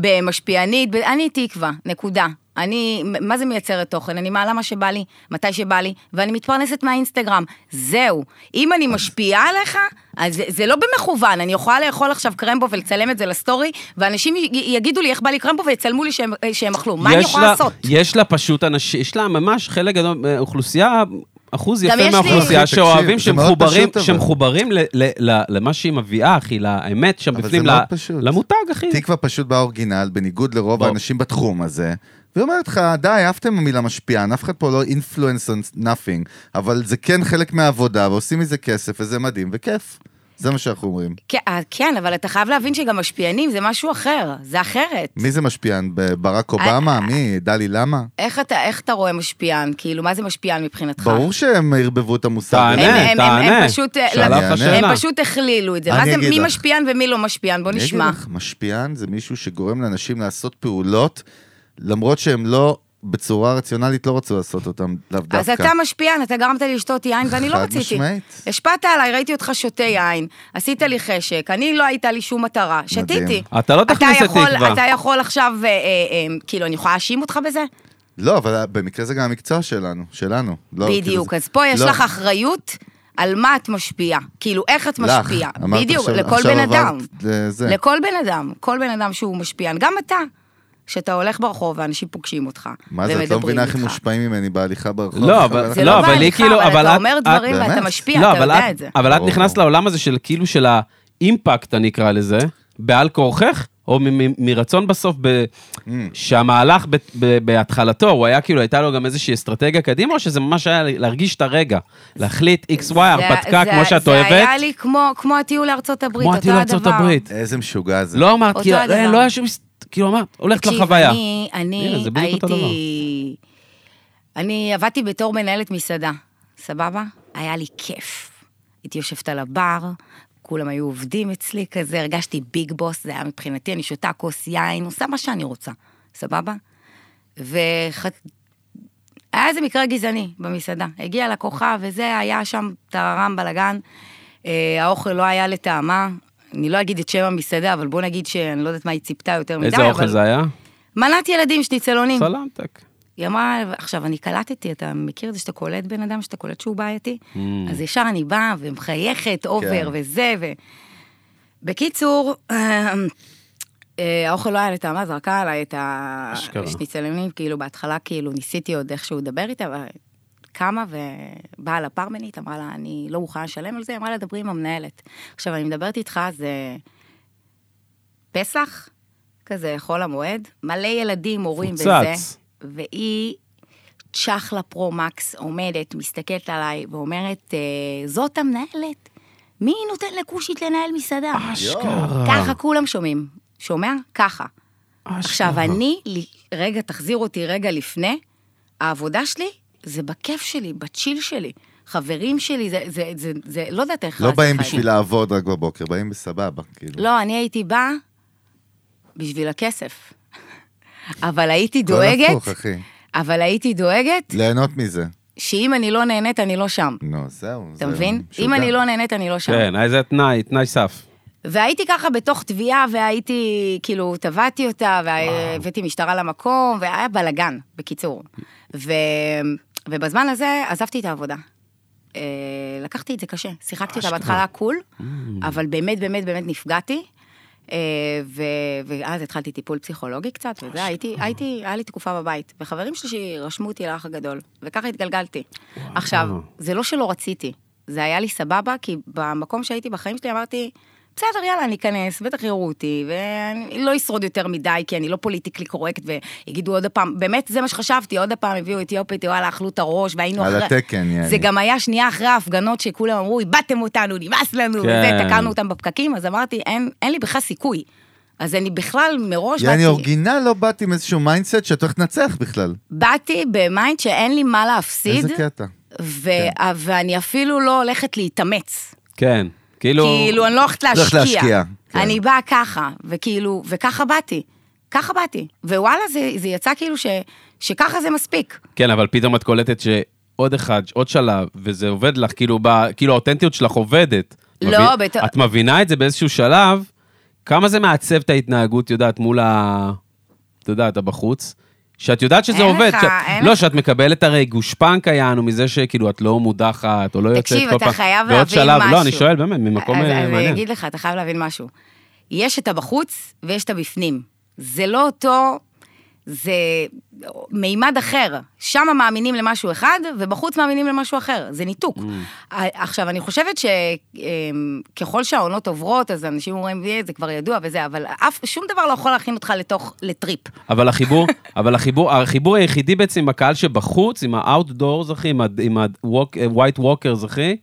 Speaker 4: במשפיענית, ב... אני תקווה, נקודה. אני, מה זה מייצרת תוכן? אני מעלה מה שבא לי, מתי שבא לי, ואני מתפרנסת מהאינסטגרם. זהו. אם אני משפיעה עליך, אז זה, זה לא במכוון, אני יכולה לאכול עכשיו קרמבו ולצלם את זה לסטורי, ואנשים י- יגידו לי איך בא לי קרמבו ויצלמו לי שהם, שהם אכלו. מה אני
Speaker 1: יש
Speaker 4: יכולה
Speaker 1: לה-
Speaker 4: לעשות?
Speaker 1: יש לה פשוט אנשים, יש לה ממש חלק גדול, אה, אוכלוסייה, אחוז
Speaker 4: גם
Speaker 1: יפה
Speaker 4: יש לי-
Speaker 1: מהאוכלוסייה
Speaker 2: אחי, תקשיב,
Speaker 1: שאוהבים,
Speaker 2: זה מאוד
Speaker 1: שמחוברים,
Speaker 2: פשוט, אבל.
Speaker 1: שמחוברים ל- ל- ל- למה שהיא מביאה, אחי, לאמת שם
Speaker 2: אבל זה
Speaker 1: בפנים,
Speaker 2: מאוד
Speaker 1: ל-
Speaker 2: פשוט.
Speaker 1: למותג, אחי.
Speaker 2: תקווה פשוט באורגינל, בניגוד לרוב
Speaker 1: בוא.
Speaker 2: האנשים בתחום הזה. והיא אומרת לך, די, עפתם המילה משפיען, אף אחד פה לא אינפלואנס און נאפינג, אבל זה כן חלק מהעבודה, ועושים מזה כסף, וזה מדהים, וכיף. זה מה שאנחנו אומרים.
Speaker 4: כן, אה, כן, אבל אתה חייב להבין שגם משפיענים זה משהו אחר, זה אחרת.
Speaker 2: מי זה משפיען? ב- ברק
Speaker 4: אה,
Speaker 2: אובמה? מי? דלי למה?
Speaker 4: איך אתה, איך אתה רואה משפיען? כאילו, מה זה משפיען מבחינתך?
Speaker 2: ברור שהם ערבבו את המושג.
Speaker 1: תענה.
Speaker 4: הם, הם, הם,
Speaker 1: תענה.
Speaker 4: הם פשוט, אה, לא,
Speaker 1: שאלה
Speaker 2: לך
Speaker 4: הם
Speaker 1: שאלה.
Speaker 4: פשוט הכלילו את זה. מה
Speaker 2: אני
Speaker 4: זה,
Speaker 2: אגיד
Speaker 4: מי
Speaker 2: לך.
Speaker 4: משפיען ומי לא משפיען? בוא
Speaker 2: אני אגיד
Speaker 4: נשמע.
Speaker 2: לך, משפיען זה מישהו שגורם לאנשים לעשות פעולות, למרות שהם לא, בצורה רציונלית לא רצו לעשות אותם לאו דווקא.
Speaker 4: אז אתה משפיען, אתה גרמת לי לשתות יין ואני לא
Speaker 2: חד
Speaker 4: רציתי.
Speaker 2: משמעית.
Speaker 4: השפעת עליי, ראיתי אותך שותה יין, עשית לי חשק, אני לא הייתה לי שום מטרה, שתיתי.
Speaker 1: אתה לא תכניס את
Speaker 4: יכול-
Speaker 1: תקווה.
Speaker 4: אתה יכול עכשיו, אה, אה, אה, כאילו, אני יכולה להאשים אותך בזה?
Speaker 2: לא, אבל במקרה זה גם המקצוע שלנו, שלנו. לא, כאילו
Speaker 4: בדיוק,
Speaker 2: זה-
Speaker 4: אז פה יש
Speaker 2: לא,
Speaker 4: לך אחריות על מה את משפיעה. כאילו, איך את
Speaker 2: לך.
Speaker 4: משפיעה.
Speaker 2: אמרת
Speaker 4: בדיוק,
Speaker 2: עכשיו-
Speaker 4: לכל
Speaker 2: עכשיו
Speaker 4: בן
Speaker 2: עברת
Speaker 4: אדם.
Speaker 2: לזה.
Speaker 4: לכל בן אדם, כל בן אדם שהוא משפיען, גם אתה, שאתה הולך ברחוב ואנשים פוגשים אותך,
Speaker 2: מה זה, את לא
Speaker 4: ומדברים
Speaker 2: מבינה איך הם
Speaker 4: איתך.
Speaker 2: מושפעים ממני בהליכה ברחוב?
Speaker 1: לא, אבל,
Speaker 4: זה
Speaker 1: לא,
Speaker 4: לא
Speaker 1: אבל היא
Speaker 4: בהליכה,
Speaker 1: כאילו,
Speaker 4: אבל אתה
Speaker 1: את-
Speaker 4: אומר
Speaker 1: את-
Speaker 4: דברים ואתה
Speaker 2: באמת?
Speaker 4: משפיע,
Speaker 1: לא,
Speaker 4: אתה
Speaker 1: אבל
Speaker 4: יודע את זה.
Speaker 1: אבל את
Speaker 2: ברור,
Speaker 1: נכנסת
Speaker 2: ברור.
Speaker 1: לעולם הזה של כאילו של האימפקט, אני אקרא לזה, בעל כורכך, או מ- מ- מרצון בסוף, ב-
Speaker 2: Mm.
Speaker 1: שהמהלך ב- ב- בהתחלתו, הוא היה כאילו, הייתה לו גם איזושהי אסטרטגיה קדימה, או שזה ממש היה להרגיש את הרגע, להחליט XY,
Speaker 4: זה-
Speaker 1: הרפתקה,
Speaker 4: זה-
Speaker 1: כמו שאת
Speaker 4: זה
Speaker 1: אוהבת,
Speaker 4: היה לי כמו כמו הטיול לארצות הברית,
Speaker 1: כמו
Speaker 4: אותו
Speaker 1: הטיול
Speaker 4: הדבר.
Speaker 1: לארצות הברית.
Speaker 2: איזה משוגע זה.
Speaker 1: לא אמרת,
Speaker 4: אותו
Speaker 1: כאילו,
Speaker 4: הדבר.
Speaker 1: אה, לא היה שום... הס- כאילו אמרת, הולכת
Speaker 4: תקשיב,
Speaker 1: לחוויה.
Speaker 4: אני,
Speaker 1: הנה,
Speaker 4: אני
Speaker 1: זה בדיוק אותו
Speaker 4: הייתי... אני עבדתי בתור מנהלת מסעדה, סבבה? היה לי כיף. הייתי יושבת על הבר, כולם היו עובדים אצלי כזה, הרגשתי ביג בוס, זה היה מבחינתי, אני שותה כוס יין, עושה מה שאני רוצה, סבבה? וח... היה איזה מקרה גזעני במסעדה. הגיעה לקוחה, וזה היה שם טררם בלאגן. אה, האוכל לא היה לטעמה. אני לא אגיד את שם המסעדה, אבל בוא נגיד שאני לא יודעת מה היא ציפתה יותר מדי.
Speaker 1: איזה אוכל
Speaker 4: אבל-
Speaker 1: זה היה?
Speaker 4: מנת ילדים, שניצלונים.
Speaker 1: סלמתק.
Speaker 4: היא אמרה, עכשיו, אני קלטתי, אתה מכיר את זה שאתה קולט בן אדם, שאתה קולט שהוא בעייתי? אז ישר אני באה ומחייכת,
Speaker 2: כן.
Speaker 4: אובר וזה, ו... בקיצור, אמ, אה, האוכל לא היה לטעמה, זרקה עליי את
Speaker 1: אשכרה.
Speaker 4: השניצלונים, כאילו, בהתחלה, כאילו, ניסיתי עוד איכשהו לדבר איתה, אבל קמה ובאה לפרמנית, אמרה לה, אני לא מוכנה לשלם על זה, היא אמרה לה, דברי עם המנהלת. עכשיו, אני מדברת איתך, זה פסח, כזה, חול המועד, מלא ילדים, הורים
Speaker 1: מפוצץ.
Speaker 4: וזה, והיא צ'חלה פרו-מקס עומדת, מסתכלת עליי ואומרת, "אה, זאת המנהלת? מי נותן לכושית לנהל מסעדה?
Speaker 1: אשכרה.
Speaker 4: ככה כולם שומעים. שומע? ככה.
Speaker 1: אה,
Speaker 4: עכשיו,
Speaker 1: אשכרה.
Speaker 4: אני, ל- רגע, תחזיר אותי רגע לפני, העבודה שלי זה בכיף שלי, בצ'יל שלי. חברים שלי, זה, זה, זה, זה לא יודעת איך...
Speaker 2: לא
Speaker 4: זה
Speaker 2: באים
Speaker 4: חיים.
Speaker 2: בשביל לעבוד רק בבוקר, באים בסבבה, כאילו.
Speaker 4: לא, אני הייתי באה בשביל הכסף. אבל הייתי
Speaker 2: הכל הפוך,
Speaker 4: לא דואגת,
Speaker 2: אחי. לא.
Speaker 4: אבל הייתי דואגת
Speaker 2: ליהנות מזה.
Speaker 4: שאם אני לא נהנית, אני לא שם.
Speaker 2: נו, זהו.
Speaker 4: אתה
Speaker 2: זהו,
Speaker 4: מבין?
Speaker 2: משוגע.
Speaker 4: אם אני לא נהנית, אני לא שם.
Speaker 1: כן, אה, זה תנאי, תנאי סף.
Speaker 4: והייתי ככה בתוך תביעה, והייתי, כאילו, תבעתי אותה, והבאתי משטרה למקום, והיה בלאגן, בקיצור. ו... ובזמן הזה עזבתי את העבודה. אה, לקחתי את זה קשה. שיחקתי אותה בהתחלה קול,
Speaker 2: Mm.
Speaker 4: אבל באמת, באמת, באמת נפגעתי. אה, ו... ואז התחלתי טיפול פסיכולוגי קצת, וזה, הייתי, הייתי, היה לי תקופה בבית. וחברים שלי רשמו אותי לאח הגדול, וככה התגלגלתי. עכשיו, זה לא שלא רציתי, זה היה לי סבבה, כי במקום שהייתי בחיים שלי אמרתי, בסדר, יאללה, אני אכנס, בטח יראו אותי, ואני לא אשרוד יותר מדי, כי אני לא פוליטיקלי קורקט, ויגידו עוד הפעם, באמת, זה מה שחשבתי, עוד הפעם הביאו אתיופית, וואלה, אכלו את הראש, והיינו
Speaker 2: על
Speaker 4: אחרי...
Speaker 2: התקן, יעני.
Speaker 4: זה גם היה שנייה אחרי ההפגנות, שכולם אמרו, איבדתם אותנו, נמאס לנו,
Speaker 1: כן.
Speaker 4: וזה, תקענו אותם בפקקים, אז אמרתי, אין, אין לי בכלל סיכוי. אז אני בכלל מראש
Speaker 2: יעני,
Speaker 4: באתי,
Speaker 2: אורגינל לא באתי עם איזשהו מיינדסט שאת הולכת לנצח בכלל.
Speaker 4: באתי במיינד שאין לי מה להפסיד,
Speaker 2: איזה כן. קטע.
Speaker 4: ו- ואני אפילו לא הולכת להתאמץ.
Speaker 1: כן, כאילו...
Speaker 4: כאילו, אני לא הולכת
Speaker 2: הולכת
Speaker 4: להשקיע.
Speaker 2: להשקיע, כן.
Speaker 4: אני באה ככה, וכאילו, וככה באתי. ככה באתי. ווואלה, זה, זה יצא כאילו ש, שככה זה מספיק.
Speaker 1: כן, אבל פתאום את קולטת שעוד אחד, עוד שלב, וזה עובד לך, כאילו, ב, כאילו האותנטיות שלך עובדת.
Speaker 4: לא,
Speaker 1: מבין-
Speaker 4: בתור-
Speaker 1: את מבינה את זה באיזשהו שלב, כמה זה מעצב את ההתנהגות, יודעת, מול ה... את יודעת, הבחוץ. שאת יודעת שזה
Speaker 4: אין
Speaker 1: עובד.
Speaker 4: לך,
Speaker 1: שאת,
Speaker 4: אין
Speaker 1: לא,
Speaker 4: לך.
Speaker 1: שאת מקבלת הרי גושפנקה יענו מזה שכאילו את לא מודחת, או לא יוצאת כל פעם.
Speaker 4: תקשיב, אתה חייב
Speaker 1: ועוד
Speaker 4: להבין
Speaker 1: שלב, לא,
Speaker 4: משהו.
Speaker 1: אני שואל באמת, ממקום
Speaker 4: אז,
Speaker 1: אה,
Speaker 4: אז אני
Speaker 1: מעניין.
Speaker 4: אגיד לך, אתה חייב להבין משהו. יש את הבחוץ ויש את הבפנים. זה לא אותו... זה מימד אחר. שם מאמינים למשהו אחד, ובחוץ מאמינים למשהו אחר. זה ניתוק.
Speaker 1: Mm.
Speaker 4: ה- עכשיו, אני חושבת שככל שהעונות עוברות, אז אנשים אומרים, "אה, זה כבר ידוע וזה, אבל אף, שום דבר לא יכול להכין אותך לתוך, לטריפ.
Speaker 1: אבל החיבור, אבל החיבור, החיבור היחידי בעצם עם הקהל שבחוץ, עם ה-outdoors, אחי, עם ה- עם ה-white walkers, אחי,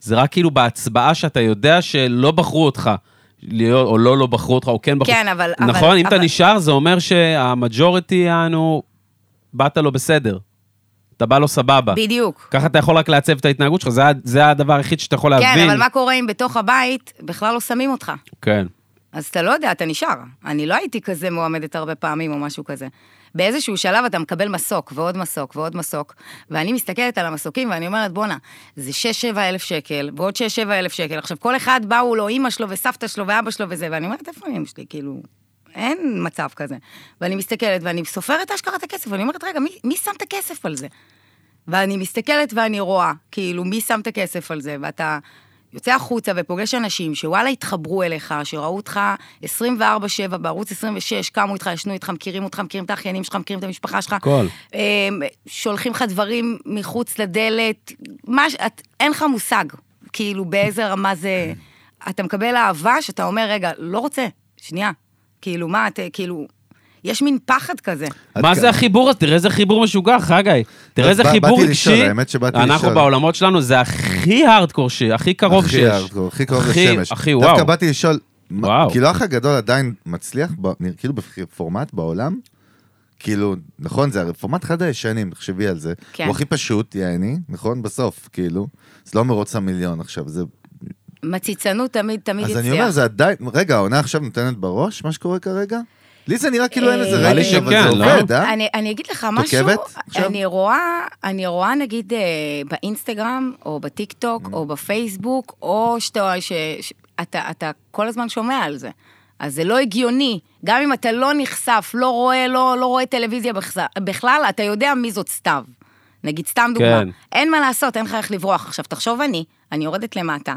Speaker 1: זה רק כאילו בהצבעה שאתה יודע שלא בחרו אותך, להיות- או לא, לא בחרו אותך, או כן בחרו.
Speaker 4: כן, אבל- אבל-
Speaker 1: נכון, אם אתה
Speaker 4: אבל-
Speaker 1: נשאר, זה אומר שהמג'וריטי, אנו, באת לו בסדר. אתה בא לו סבבה.
Speaker 4: בדיוק.
Speaker 1: ככה אתה יכול רק לעצב את ההתנהגות שלך, זה ה- זה הדבר היחיד שאתה יכול להבין.
Speaker 4: כן, אבל מה קורה אם בתוך הבית בכלל לא שמים אותך?
Speaker 1: כן.
Speaker 4: אז אתה לא יודע, אתה נשאר. אני לא הייתי כזה מועמדת הרבה פעמים או משהו כזה. באיזשהו שלב אתה מקבל מסוק ועוד מסוק ועוד מסוק, ואני מסתכלת על המסוקים ואני אומרת, בואנה, זה 6-7 אלף שקל, ועוד 6-7 אלף שקל. עכשיו, כל אחד באו לו אימא שלו וסבתא שלו ואבא שלו וזה, ואני אומרת, איפה אמא שלי? כאילו, אין מצב כזה. ואני מסתכלת ואני סופרת אשכרה את הכסף, ואני אומרת, רגע, מי, מי שם את הכסף על זה? ואני מסתכלת ואני רואה, כאילו, מי שם את הכסף על זה, ואתה יוצא החוצה ופוגש אנשים שוואלה התחברו אליך, שראו אותך 24-7 בערוץ 26, קמו איתך, ישנו איתך, מכירים אותך, מכירים את האחיינים שלך, מכירים את המשפחה שלך.
Speaker 1: הכל.
Speaker 4: אמ, שולחים לך דברים מחוץ לדלת, מה ש... את, אין לך מושג, כאילו, באיזה רמה זה...
Speaker 2: כן.
Speaker 4: אתה מקבל אהבה שאתה אומר, רגע, לא רוצה, שנייה. כאילו, מה, את, כאילו, יש מין פחד כזה.
Speaker 1: מה
Speaker 2: עד
Speaker 1: זה
Speaker 2: כאן.
Speaker 1: החיבור הזה? תראה איזה חיבור משוגע, חגי. תראה
Speaker 2: אז
Speaker 1: איזה
Speaker 2: אוקיי. לא, בא-
Speaker 1: חיבור
Speaker 2: באתי לשאול,
Speaker 1: רגשי.
Speaker 2: האמת שבאתי
Speaker 1: אנחנו
Speaker 2: לשאול.
Speaker 1: בעולמות שלנו, זה הכי הארדקור, ש- הכי קרוב
Speaker 2: הכי
Speaker 1: שיש.
Speaker 2: הארדקור, הכי קרוב
Speaker 1: הכי-
Speaker 2: לשמש.
Speaker 1: הכי וואו.
Speaker 2: דווקא באתי לשאול, מה-
Speaker 1: וואו.
Speaker 2: כאילו האח הגדול עדיין מצליח, ב- נראה- כאילו בפורמט בעולם, כאילו, נכון, זה הרי פורמט אחד הישנים, תחשבי על זה.
Speaker 4: כן.
Speaker 2: הוא הכי פשוט, יעני, נכון? בסוף, כאילו. זה לא מרוץ המיליון עכשיו, זה...
Speaker 4: מציצנות תמיד, תמיד
Speaker 2: אז
Speaker 4: יצליח.
Speaker 2: אני אומר, זה עדיין... רגע, העונה עכשיו נותנת בראש, מה שקורה כרגע? לי זה נראה כאילו אין לזה
Speaker 4: נראה לי
Speaker 2: רייטינג, אבל זה
Speaker 1: שכן, לא?
Speaker 2: עובד, אה?
Speaker 4: אה, אני, אני אגיד לך משהו,
Speaker 2: עוקבת עכשיו?
Speaker 4: אני רואה, אני רואה נגיד אה, באינסטגרם, או בטיק
Speaker 2: Mm.
Speaker 4: טוק, או בפייסבוק, או שאתה, ש, ש, אתה, אתה כל הזמן שומע על זה. אז זה לא הגיוני, גם אם אתה לא נחשף, לא רואה, לא, לא רואה טלוויזיה בכס- בכלל, אתה יודע מי זאת סתיו. נגיד, סתם דוגמה.
Speaker 1: כן.
Speaker 4: אין מה לעשות, אין לך איך לברוח. עכשיו, תחשוב אני, אני יורדת למטה,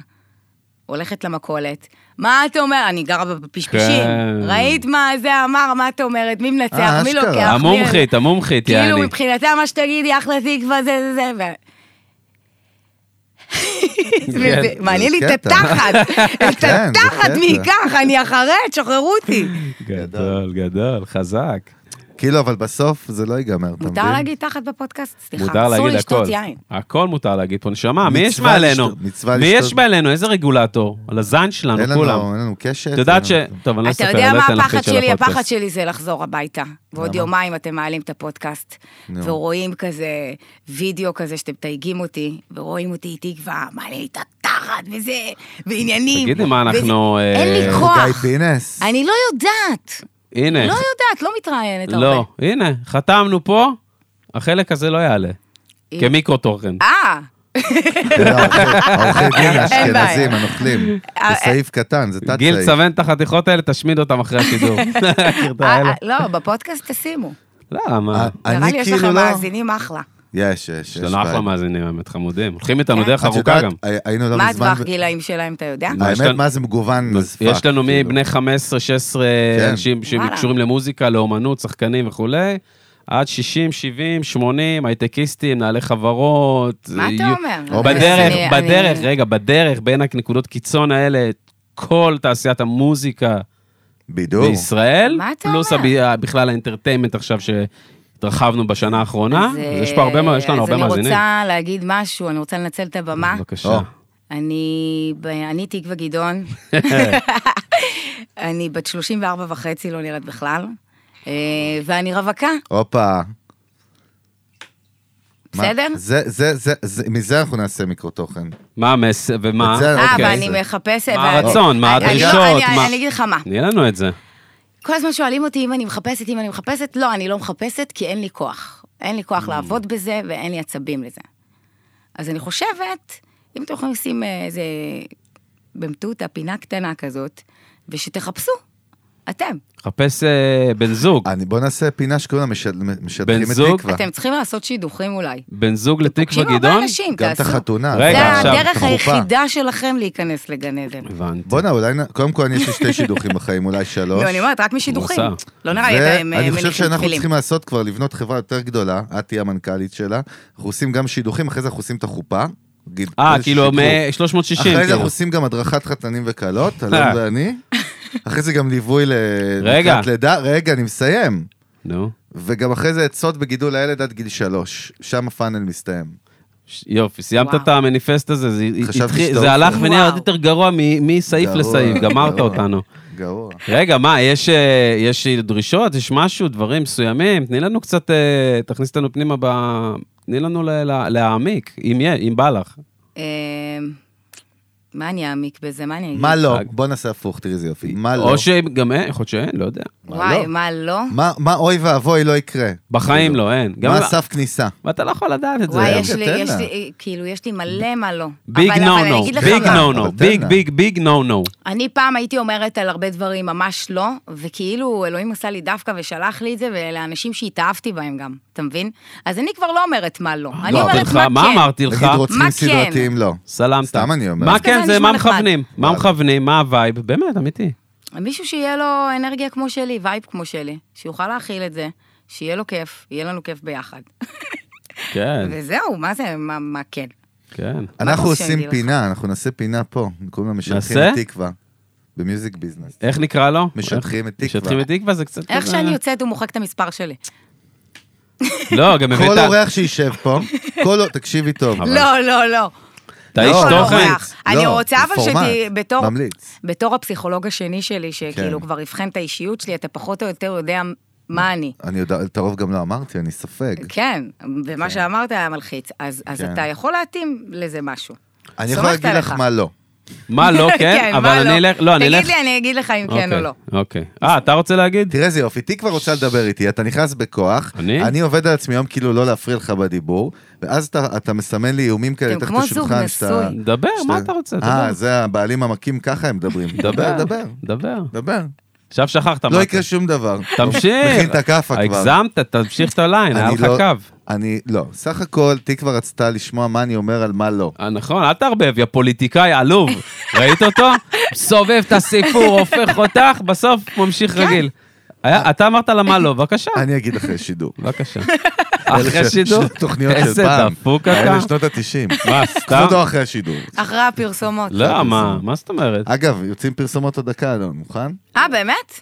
Speaker 4: הולכת למכולת, מה אתה אומר? אני גרה בפשפשים,
Speaker 1: כן.
Speaker 4: ראית מה זה אמר, מה את אומרת, מי מנצח?
Speaker 2: אה,
Speaker 4: לנצח, מי
Speaker 2: אשכרה.
Speaker 4: לוקח? מי-
Speaker 1: המומחית, המומחית, יעני.
Speaker 4: כאילו, מבחינתה, מה שתגידי, אחלה תקווה, זה, זה, זה. ו-
Speaker 1: כן.
Speaker 4: וזה- מעניין לי את
Speaker 2: קטע. כן,
Speaker 4: התחת, את
Speaker 2: זה
Speaker 4: התחת
Speaker 2: קטע.
Speaker 4: מי ייקח, אני אחרי, תשחררו אותי.
Speaker 1: גדול, גדול, חזק.
Speaker 2: כאילו, אבל בסוף זה לא ייגמר, אתה מבין?
Speaker 4: מותר להגיד תחת בפודקאסט?
Speaker 1: מותר
Speaker 4: סליחה, אסור
Speaker 1: להגיד הכל.
Speaker 4: לשתות יין.
Speaker 1: הכל מותר להגיד פה, נשמה, מי יש
Speaker 2: מצווה
Speaker 1: מעלינו?
Speaker 2: לשתות- מצווה
Speaker 1: מי
Speaker 2: לשתות.
Speaker 1: יש מעלינו? איזה רגולטור? על הזין שלנו,
Speaker 2: אין
Speaker 1: כולם.
Speaker 2: לנו, אין לנו קשת.
Speaker 1: את יודעת ש...
Speaker 2: אין לנו-
Speaker 1: טוב, אני לא
Speaker 4: אתה
Speaker 1: אספר,
Speaker 4: יודע
Speaker 1: לא
Speaker 4: מה
Speaker 1: אתן לך
Speaker 4: הפחד
Speaker 1: חיד של
Speaker 4: שלי? הפחד
Speaker 1: הפודקאסט.
Speaker 4: שלי זה לחזור הביתה. ועוד
Speaker 2: למה?
Speaker 4: יומיים אתם מעלים את הפודקאסט,
Speaker 2: נו.
Speaker 4: ורואים כזה וידאו כזה שאתם מתייגים אותי, ורואים אותי איתי כבר, מעלה לי את התחת וזה, ועניינים.
Speaker 1: תגידי, מה,
Speaker 4: וזה-
Speaker 1: אנחנו, אה,
Speaker 4: אין לי
Speaker 1: גיא
Speaker 4: כוח.
Speaker 2: גיא פינס.
Speaker 4: אני לא יודעת.
Speaker 1: הנה.
Speaker 4: לא יודעת, לא מתראיינת הרבה.
Speaker 1: אה. לא, הנה, חתמנו פה, החלק הזה לא יעלה.
Speaker 4: הנה.
Speaker 1: כמיקרו תוכן.
Speaker 4: אה,
Speaker 2: לא, העורכי- העורכי דין האשכנזים,
Speaker 4: בעיה.
Speaker 2: הנוכלים.
Speaker 4: אה,
Speaker 2: זה סעיף קטן, זה תת-סעיף.
Speaker 1: גיל, צוון את החתיכות האלה, תשמיד אותם אחרי השידור.
Speaker 4: אה, אה, לא, בפודקאסט תשימו.
Speaker 1: למה?
Speaker 4: נראה
Speaker 2: אני
Speaker 4: לי יש
Speaker 2: כאילו
Speaker 4: לכם
Speaker 2: לא...
Speaker 4: מאזינים אחלה.
Speaker 2: יש, יש, יש.
Speaker 1: יש לנו לא אחלה
Speaker 2: בעיה.
Speaker 1: מאזינים, האמת, חמודים. הולכים איתנו
Speaker 4: כן.
Speaker 1: דרך
Speaker 2: את
Speaker 1: ארוכה
Speaker 2: יודעת,
Speaker 1: גם.
Speaker 2: הי- היינו לא
Speaker 4: מה
Speaker 2: מזמן...
Speaker 4: הטווח גילאים שלהם, אתה יודע?
Speaker 1: לא, יש
Speaker 2: האמת,
Speaker 1: לנו-
Speaker 2: מה זה מגוון as fuck,
Speaker 1: יש לנו
Speaker 2: כאילו.
Speaker 1: מבני 15, 16,
Speaker 2: כן.
Speaker 1: אנשים
Speaker 4: וואלה.
Speaker 1: שקשורים למוזיקה, לאומנות, שחקנים וכולי, עד 60, 70, 80, הייטקיסטים, נעלי חברות.
Speaker 4: מה אתה
Speaker 1: יו-
Speaker 4: אומר?
Speaker 2: אוקיי.
Speaker 1: בדרך,
Speaker 4: אני-
Speaker 1: בדרך,
Speaker 4: אני-
Speaker 1: רגע, בדרך, בין הנקודות קיצון האלה, כל תעשיית המוזיקה
Speaker 2: בידור.
Speaker 1: בישראל,
Speaker 4: מה אתה
Speaker 1: פלוס
Speaker 4: אומר?
Speaker 1: הב- בכלל האינטרטיימנט עכשיו שהתרחבנו בשנה האחרונה,
Speaker 4: אז,
Speaker 1: אז יש פה הרבה, מה- יש לנו הרבה
Speaker 4: אז
Speaker 1: מאזינים.
Speaker 4: אני רוצה להגיד משהו, אני רוצה לנצל את הבמה.
Speaker 1: בבקשה.
Speaker 2: או.
Speaker 4: אני, ב- אני תקווה גדעון, אני בת 34 וחצי, לא נראית בכלל, אה, ואני רווקה,
Speaker 2: הופה. מה-
Speaker 4: בסדר?
Speaker 2: זה, זה, זה, זה, מזה אנחנו נעשה מיקרו תוכן.
Speaker 1: מה המס... ומה?
Speaker 2: את זה-
Speaker 4: אה,
Speaker 2: אוקיי.
Speaker 4: ואני מחפשת...
Speaker 1: מה
Speaker 4: ואני-
Speaker 1: הרצון? מה
Speaker 4: אני- אני לא-
Speaker 1: הדרישות?
Speaker 4: אני-
Speaker 1: מה-
Speaker 4: אני אגיד לך מה,
Speaker 1: תני לנו את זה.
Speaker 4: כל הזמן שואלים אותי אם אני מחפשת, אם אני מחפשת, לא, אני לא מחפשת כי אין לי כוח. אין לי
Speaker 1: Mm.
Speaker 4: כוח לעבוד בזה ואין לי עצבים לזה. אז אני חושבת, אם אתם יכולים לשים אה, איזה במטותא, פינה קטנה כזאת, ושתחפשו, אתם.
Speaker 1: חפש אה, בן זוג.
Speaker 2: אני, בוא נעשה פינה שקוראים לה משד- משדכים את
Speaker 1: זוג?
Speaker 2: תקווה.
Speaker 4: אתם צריכים לעשות שידוכים אולי.
Speaker 1: בן זוג לתקווה
Speaker 4: תקשיבו הרבה
Speaker 1: גדעון?
Speaker 4: אנשים,
Speaker 2: גם את
Speaker 4: תעשו.
Speaker 2: החתונה.
Speaker 1: רגע,
Speaker 4: זה
Speaker 1: עכשיו,
Speaker 4: הדרך
Speaker 2: חופה.
Speaker 4: היחידה שלכם להיכנס לגן עדן.
Speaker 1: הבנתי.
Speaker 2: בואנה, אולי, נ- קודם כל, אני יש לי שתי שידוכים בחיים, אולי שלוש.
Speaker 4: לא, אני אומרת, רק משידוכים.
Speaker 1: מוסר.
Speaker 4: לא נראה לי אתם אה,
Speaker 2: ואני חושב
Speaker 4: מניחים
Speaker 2: שאנחנו
Speaker 4: תפילים.
Speaker 2: צריכים לעשות כבר, לבנות חברה יותר גדולה, את תהיי המנכ"לית שלה, אנחנו עושים גם שידוכים, אחרי זה אנחנו עושים את החופה. גיד-
Speaker 1: אה,
Speaker 2: איזה
Speaker 1: כאילו
Speaker 2: שדרוג.
Speaker 1: מ-360.
Speaker 2: אחרי זה אנחנו עושים גם הדרכת חתנים וכלות,
Speaker 1: אה.
Speaker 2: אלון ואני. אחרי זה גם ליווי ל...
Speaker 1: רגע.
Speaker 2: לקראת לידה, רגע, אני מסיים.
Speaker 1: כאילו. נו,
Speaker 2: וגם אחרי זה עצות בגידול הילד עד גיל שלוש, שם הפאנל מסתיים.
Speaker 1: ש- יופי, סיימת
Speaker 4: וואו.
Speaker 1: את המניפסט הזה, זה
Speaker 2: חשבתי
Speaker 1: התחיל- זה
Speaker 2: שאתה עוף.
Speaker 1: הלך ונהיה
Speaker 4: וואו.
Speaker 1: עוד יותר גרוע מ- מסעיף
Speaker 2: גרוע,
Speaker 1: לסעיף, גמרת
Speaker 2: גרוע.
Speaker 1: אותנו.
Speaker 2: גרוע.
Speaker 1: רגע, מה, יש, אה, יש דרישות, יש משהו, דברים מסוימים? תני לנו קצת, אה, תכניס אותנו פנימה ב... תני לנו ל- ל- להעמיק, אם יהיה, אם בא לך.
Speaker 4: אה, מה אני אעמיק בזה? מה אני אגיד?
Speaker 2: מה לא? בוא נעשה הפוך, תראי איזה יופי. מה לא?
Speaker 1: אה. או שגם אין, יכול להיות שאין, לא יודע.
Speaker 2: מה
Speaker 4: וואי,
Speaker 2: לא?
Speaker 4: מה לא?
Speaker 2: מה- מה אוי ואבוי לא יקרה?
Speaker 1: בחיים לא, אין. גם-
Speaker 2: מה הסף כניסה?
Speaker 1: ואתה לא יכול לדעת את זה.
Speaker 4: וואי,
Speaker 2: זה-
Speaker 4: יש לי,
Speaker 2: תן
Speaker 4: יש
Speaker 2: לה.
Speaker 4: לי, כאילו, יש לי מלא מה לא.
Speaker 1: ביג
Speaker 4: אבל-
Speaker 1: נו
Speaker 4: אבל אני
Speaker 1: נו,
Speaker 4: אגיד לך
Speaker 1: ביג
Speaker 4: מה.
Speaker 1: נו נו,
Speaker 2: אבל תן
Speaker 1: ביג
Speaker 2: לה.
Speaker 1: ביג ביג נו נו.
Speaker 4: אני פעם הייתי אומרת על הרבה דברים ממש לא, וכאילו אלוהים עשה לי דווקא ושלח לי את זה, ואלה אנשים שהתאהבתי בהם גם, אתה מבין? אז אני כבר לא אומרת מה לא, אני
Speaker 1: אמרתי
Speaker 4: אומרת
Speaker 1: לך,
Speaker 4: מה כן.
Speaker 1: מה אמרתי לך?
Speaker 2: נגיד רוצחים
Speaker 4: מה כן?
Speaker 2: סדרתיים לא.
Speaker 1: סלמת.
Speaker 2: סתם אני אומר.
Speaker 1: מה
Speaker 2: דווקא
Speaker 1: כן
Speaker 4: זה
Speaker 1: זה,
Speaker 4: נשמע
Speaker 1: מה
Speaker 4: נחמד.
Speaker 1: מכוונים? מה מכוונים? מה הווייב? באמת, אמיתי.
Speaker 4: מישהו שיהיה לו אנרגיה כמו שלי, וייב כמו שלי, שיוכל להכיל את זה, שיהיה לו כיף, יהיה לנו כיף ביחד.
Speaker 1: כן,
Speaker 4: וזהו, מה זה, מה, מה כן?
Speaker 1: כן.
Speaker 2: אנחנו
Speaker 4: מה אתה רוצה שאני
Speaker 2: עושים
Speaker 4: אגיד
Speaker 2: פינה, אנחנו נעשה פינה פה, קוראים לה משטחים
Speaker 1: נעשה?
Speaker 2: את תקווה. במיוזיק ביזנס.
Speaker 1: איך נקרא לו?
Speaker 2: משטחים את תקווה.
Speaker 1: משטחים את תקווה זה קצת...
Speaker 4: איך
Speaker 1: כזה-
Speaker 4: שאני יוצאת הוא מוחק את המספר שלי.
Speaker 1: לא, גם
Speaker 2: כל
Speaker 1: הבאת...
Speaker 2: אורח שישב פה, כל... אור- תקשיבי טוב.
Speaker 4: לא, לא, לא.
Speaker 1: אתה איש
Speaker 4: לא, לא,
Speaker 1: תוכן?
Speaker 4: אורח. אני רוצה אבל שתהיי בתור-
Speaker 2: ממליץ.
Speaker 4: בתור הפסיכולוג השני שלי, שכאילו
Speaker 2: כן.
Speaker 4: כבר אבחן את האישיות שלי, אתה פחות או יותר יודע מה אני.
Speaker 2: אני יודע, את הרוב גם לא אמרתי, אני ספק.
Speaker 4: כן, ומה שאמרת היה מלחיץ, אז אז
Speaker 2: כן.
Speaker 4: אתה יכול להתאים לזה משהו.
Speaker 2: אני יכול
Speaker 4: סומכת
Speaker 2: להגיד לך
Speaker 4: עליך.
Speaker 2: מה לא.
Speaker 1: מה לא כן?
Speaker 4: מה
Speaker 1: אבל אני אלך... לא, אני אלך...
Speaker 4: תגיד לי, אני אגיד לך אם כן או
Speaker 1: אוקיי,
Speaker 4: לא.
Speaker 1: אוקיי. אה, אתה רוצה להגיד?
Speaker 2: תראה איזה יופי, תקווה רוצה לדבר איתי, אתה נכנס בכוח,
Speaker 1: אני?
Speaker 2: אני עובד על עצמי היום כאילו לא להפריע לך בדיבור, ואז אתה, אתה מסמן לי איומים כאלה,
Speaker 4: אתם
Speaker 2: תחת
Speaker 4: כמו זוג
Speaker 2: השולחן,
Speaker 4: נשוי.
Speaker 2: שאתה-
Speaker 1: דבר, מה
Speaker 2: שאתה-
Speaker 1: אתה רוצה?
Speaker 2: אה,
Speaker 1: דבר.
Speaker 2: זה הבעלים המכים ככה הם מדברים. דבר, דבר,
Speaker 1: דבר.
Speaker 2: דבר.
Speaker 1: עכשיו שכחת מה...
Speaker 2: לא
Speaker 1: אתה-
Speaker 2: יקרה שום דבר.
Speaker 1: תמשיך.
Speaker 2: מכין את הכאפה כבר.
Speaker 1: הגזמת, תמשיך את הליין, היה
Speaker 2: אני
Speaker 1: לך
Speaker 2: לא-
Speaker 1: קו.
Speaker 2: אני, לא. סך הכל, תקווה רצתה לשמוע מה אני אומר על מה לא.
Speaker 1: אה, נכון, אל תערבב, יא פוליטיקאי עלוב. ראית אותו? סובב את הסיפור, הופך אותך, בסוף ממשיך
Speaker 4: כן.
Speaker 1: רגיל. היה- אתה אמרת לה מה לא, בבקשה.
Speaker 2: אה. אני אגיד אחרי שידור.
Speaker 1: בבקשה.
Speaker 2: אלה
Speaker 1: אחרי
Speaker 2: של-
Speaker 1: שידור?
Speaker 2: של תוכניות של
Speaker 1: איזה
Speaker 2: פעם.
Speaker 1: דפוק אתה.
Speaker 2: האלה שנות ה-90.
Speaker 1: מה,
Speaker 2: קחו
Speaker 1: סתם?
Speaker 2: אותו אחרי השידור.
Speaker 4: אחרי הפרסומות.
Speaker 1: לא, מה, מה זאת אומרת?
Speaker 2: אגב, יוצאים פרסומות עוד דקה, אלון, מוכן?
Speaker 4: אה, באמת?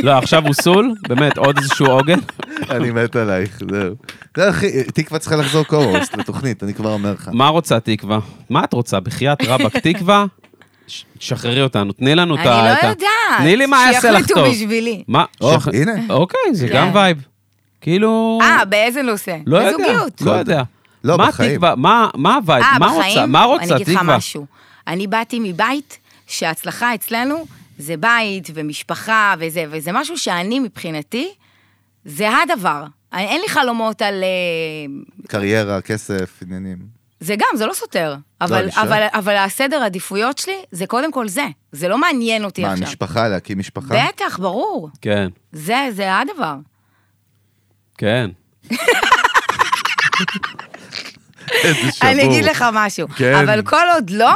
Speaker 1: לא, עכשיו הוא סול, באמת, עוד איזשהו עוגן.
Speaker 2: אני מת עלייך, זהו. לא, אחי, תקווה צריכה לחזור קורוסט לתוכנית, אני כבר אומר לך.
Speaker 1: מה רוצה תקווה? מה את רוצה? בחייאת רבאק תקווה? ש- שחררי אותנו, תני לנו את
Speaker 4: אני
Speaker 1: ה... את
Speaker 4: לא
Speaker 1: ה-
Speaker 4: יודעת.
Speaker 1: תני לי מה יעשה לך טוב.
Speaker 4: שיחליטו בשבילי.
Speaker 1: מה?
Speaker 2: או,
Speaker 1: שח-
Speaker 2: הנה.
Speaker 1: אוקיי, זה
Speaker 4: כן.
Speaker 1: גם וייב. כאילו...
Speaker 4: אה, באיזה נושא?
Speaker 1: לא יודע,
Speaker 4: בזוגיות.
Speaker 1: לא יודע.
Speaker 2: לא,
Speaker 1: מה
Speaker 2: בחיים.
Speaker 1: תקווה? מה מה הווייב?
Speaker 4: אה,
Speaker 1: מה רוצה?
Speaker 4: בחיים?
Speaker 1: מה רוצה
Speaker 4: אני אגיד לך
Speaker 1: תקווה?
Speaker 4: משהו. אני באתי מבית שההצלחה אצלנו זה בית ומשפחה וזה, וזה משהו שאני מבחינתי, זה הדבר. אני- אין לי חלומות על... אה,
Speaker 2: קריירה, כסף, עניינים.
Speaker 4: זה גם, זה לא סותר. אבל,
Speaker 2: אני שואל.
Speaker 4: אבל, אבל הסדר העדיפויות שלי זה קודם כל זה. זה לא מעניין אותי
Speaker 2: מה,
Speaker 4: עכשיו.
Speaker 2: משפחה, להקים משפחה?
Speaker 4: בטח, ברור.
Speaker 1: כן,
Speaker 4: זה, זה הדבר.
Speaker 1: כן.
Speaker 2: איזה שבור.
Speaker 4: אני אגיד לך משהו.
Speaker 2: כן.
Speaker 4: אבל כל עוד לא,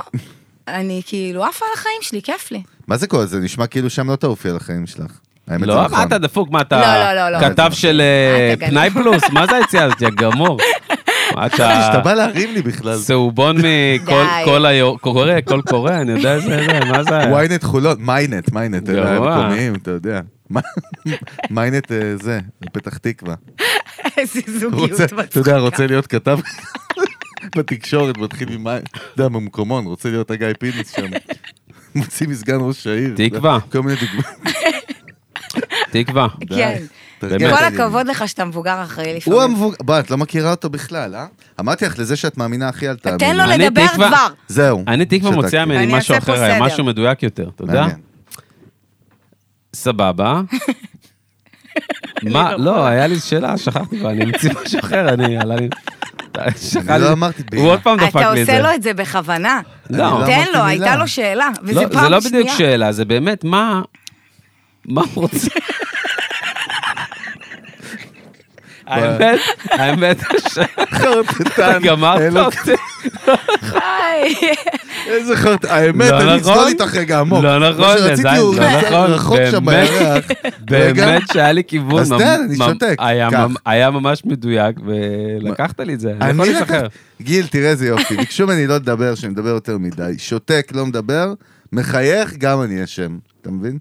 Speaker 4: אני כאילו עפה על החיים שלי, כיף לי.
Speaker 2: מה זה כל זה? נשמע כאילו שם לא תעופי על החיים שלך. האמת זה
Speaker 1: לא, מה
Speaker 2: נכון.
Speaker 1: אתה דפוק? מה אתה...
Speaker 4: לא, לא, לא, לא.
Speaker 1: כתב של אה,
Speaker 4: אתה גנב.
Speaker 1: פנאי פלוס? מה זה היציאה הזאת? יא גמור. מה אתה...
Speaker 2: אה, שאתה בא להרים לי בכלל.
Speaker 1: צהובון מכל
Speaker 4: די.
Speaker 1: כל היו- קורא, כל קורא, אני יודע איזה... זה, מה זה?
Speaker 2: ynet חולון, מיינט, מיינט,
Speaker 1: גרוע.
Speaker 2: אלה המקומיים, אה, אתה יודע. מה- מיינט אה, זה, פתח תקווה.
Speaker 4: איזה זוגיות
Speaker 2: רוצה,
Speaker 4: מצחיקה.
Speaker 2: אתה יודע, רוצה להיות כתב בתקשורת, מתחיל עם מיינט, אתה יודע, במקומון, רוצה להיות הגיא פינס שם. מוציא מסגן ראש העיר.
Speaker 1: תקווה.
Speaker 2: כל מיני דוגמאות.
Speaker 1: תקווה.
Speaker 2: די,
Speaker 4: כן.
Speaker 2: תרגל
Speaker 1: באמת.
Speaker 2: את
Speaker 4: כל
Speaker 2: העניינים.
Speaker 4: הכבוד לך שאתה מבוגר אחרי לפעמים.
Speaker 2: הוא המבוגר, בוא, את לא מכירה אותו בכלל, אה? אמרתי לך, לזה שאת מאמינה הכי אל תאמיני.
Speaker 4: תן לו
Speaker 1: אני
Speaker 4: לדבר
Speaker 1: תקווה-
Speaker 4: כבר.
Speaker 2: זהו.
Speaker 1: אני תקווה
Speaker 2: שתקתי.
Speaker 1: מוציאה ממני
Speaker 4: אני
Speaker 1: משהו
Speaker 4: אעשה פה
Speaker 1: אחר, היום,
Speaker 4: סדר.
Speaker 1: משהו מדויק יותר, אתה יודע?
Speaker 2: מעניין.
Speaker 1: סבבה. מה, לא, היה לי שאלה, שכחתי כבר, אני ממציא משהו אחר, אני, עלה לי... שכחתי.
Speaker 2: לא אמרתי בעיה.
Speaker 1: הוא עוד פעם דפק
Speaker 4: אתה
Speaker 1: לי את
Speaker 4: עושה
Speaker 1: זה.
Speaker 4: לו את זה בכוונה.
Speaker 1: לא. אני לא
Speaker 4: תן
Speaker 2: אמרתי
Speaker 4: לו,
Speaker 2: מילה.
Speaker 4: הייתה לו שאלה, וזה
Speaker 1: לא,
Speaker 4: פעם שנייה.
Speaker 1: זה לא בדיוק שאלה, זה באמת, מה... מה הוא רוצה? האמת, האמת, שאתה גמרת לא,
Speaker 2: אלו-
Speaker 1: אותי.
Speaker 4: איי.
Speaker 2: איזה חרט... האמת,
Speaker 1: לא
Speaker 2: אני
Speaker 1: נכון.
Speaker 2: אצלול איתך רגע עמוק.
Speaker 1: לא נכון,
Speaker 2: מה שרציתי
Speaker 1: לזין,
Speaker 2: הוא
Speaker 1: לא
Speaker 2: קצת
Speaker 1: נכון,
Speaker 2: רחוק שם
Speaker 1: באמת.
Speaker 2: בירח. רגע.
Speaker 1: באמת שהיה לי כיוון.
Speaker 2: אז
Speaker 1: ממ-
Speaker 2: תן, אני
Speaker 1: ממ-
Speaker 2: שותק.
Speaker 1: היה
Speaker 2: קח.
Speaker 1: ממ- היה ממש מדויק, ולקחת לי את זה, אני
Speaker 2: אני
Speaker 1: יכול
Speaker 2: לקחתי-
Speaker 1: להיזכר.
Speaker 2: גיל, תראה איזה יופי. ביקשו ממני לא לדבר, שאני מדבר יותר מדי. שותק, לא מדבר. מחייך, גם אני אשם. אתה מבין?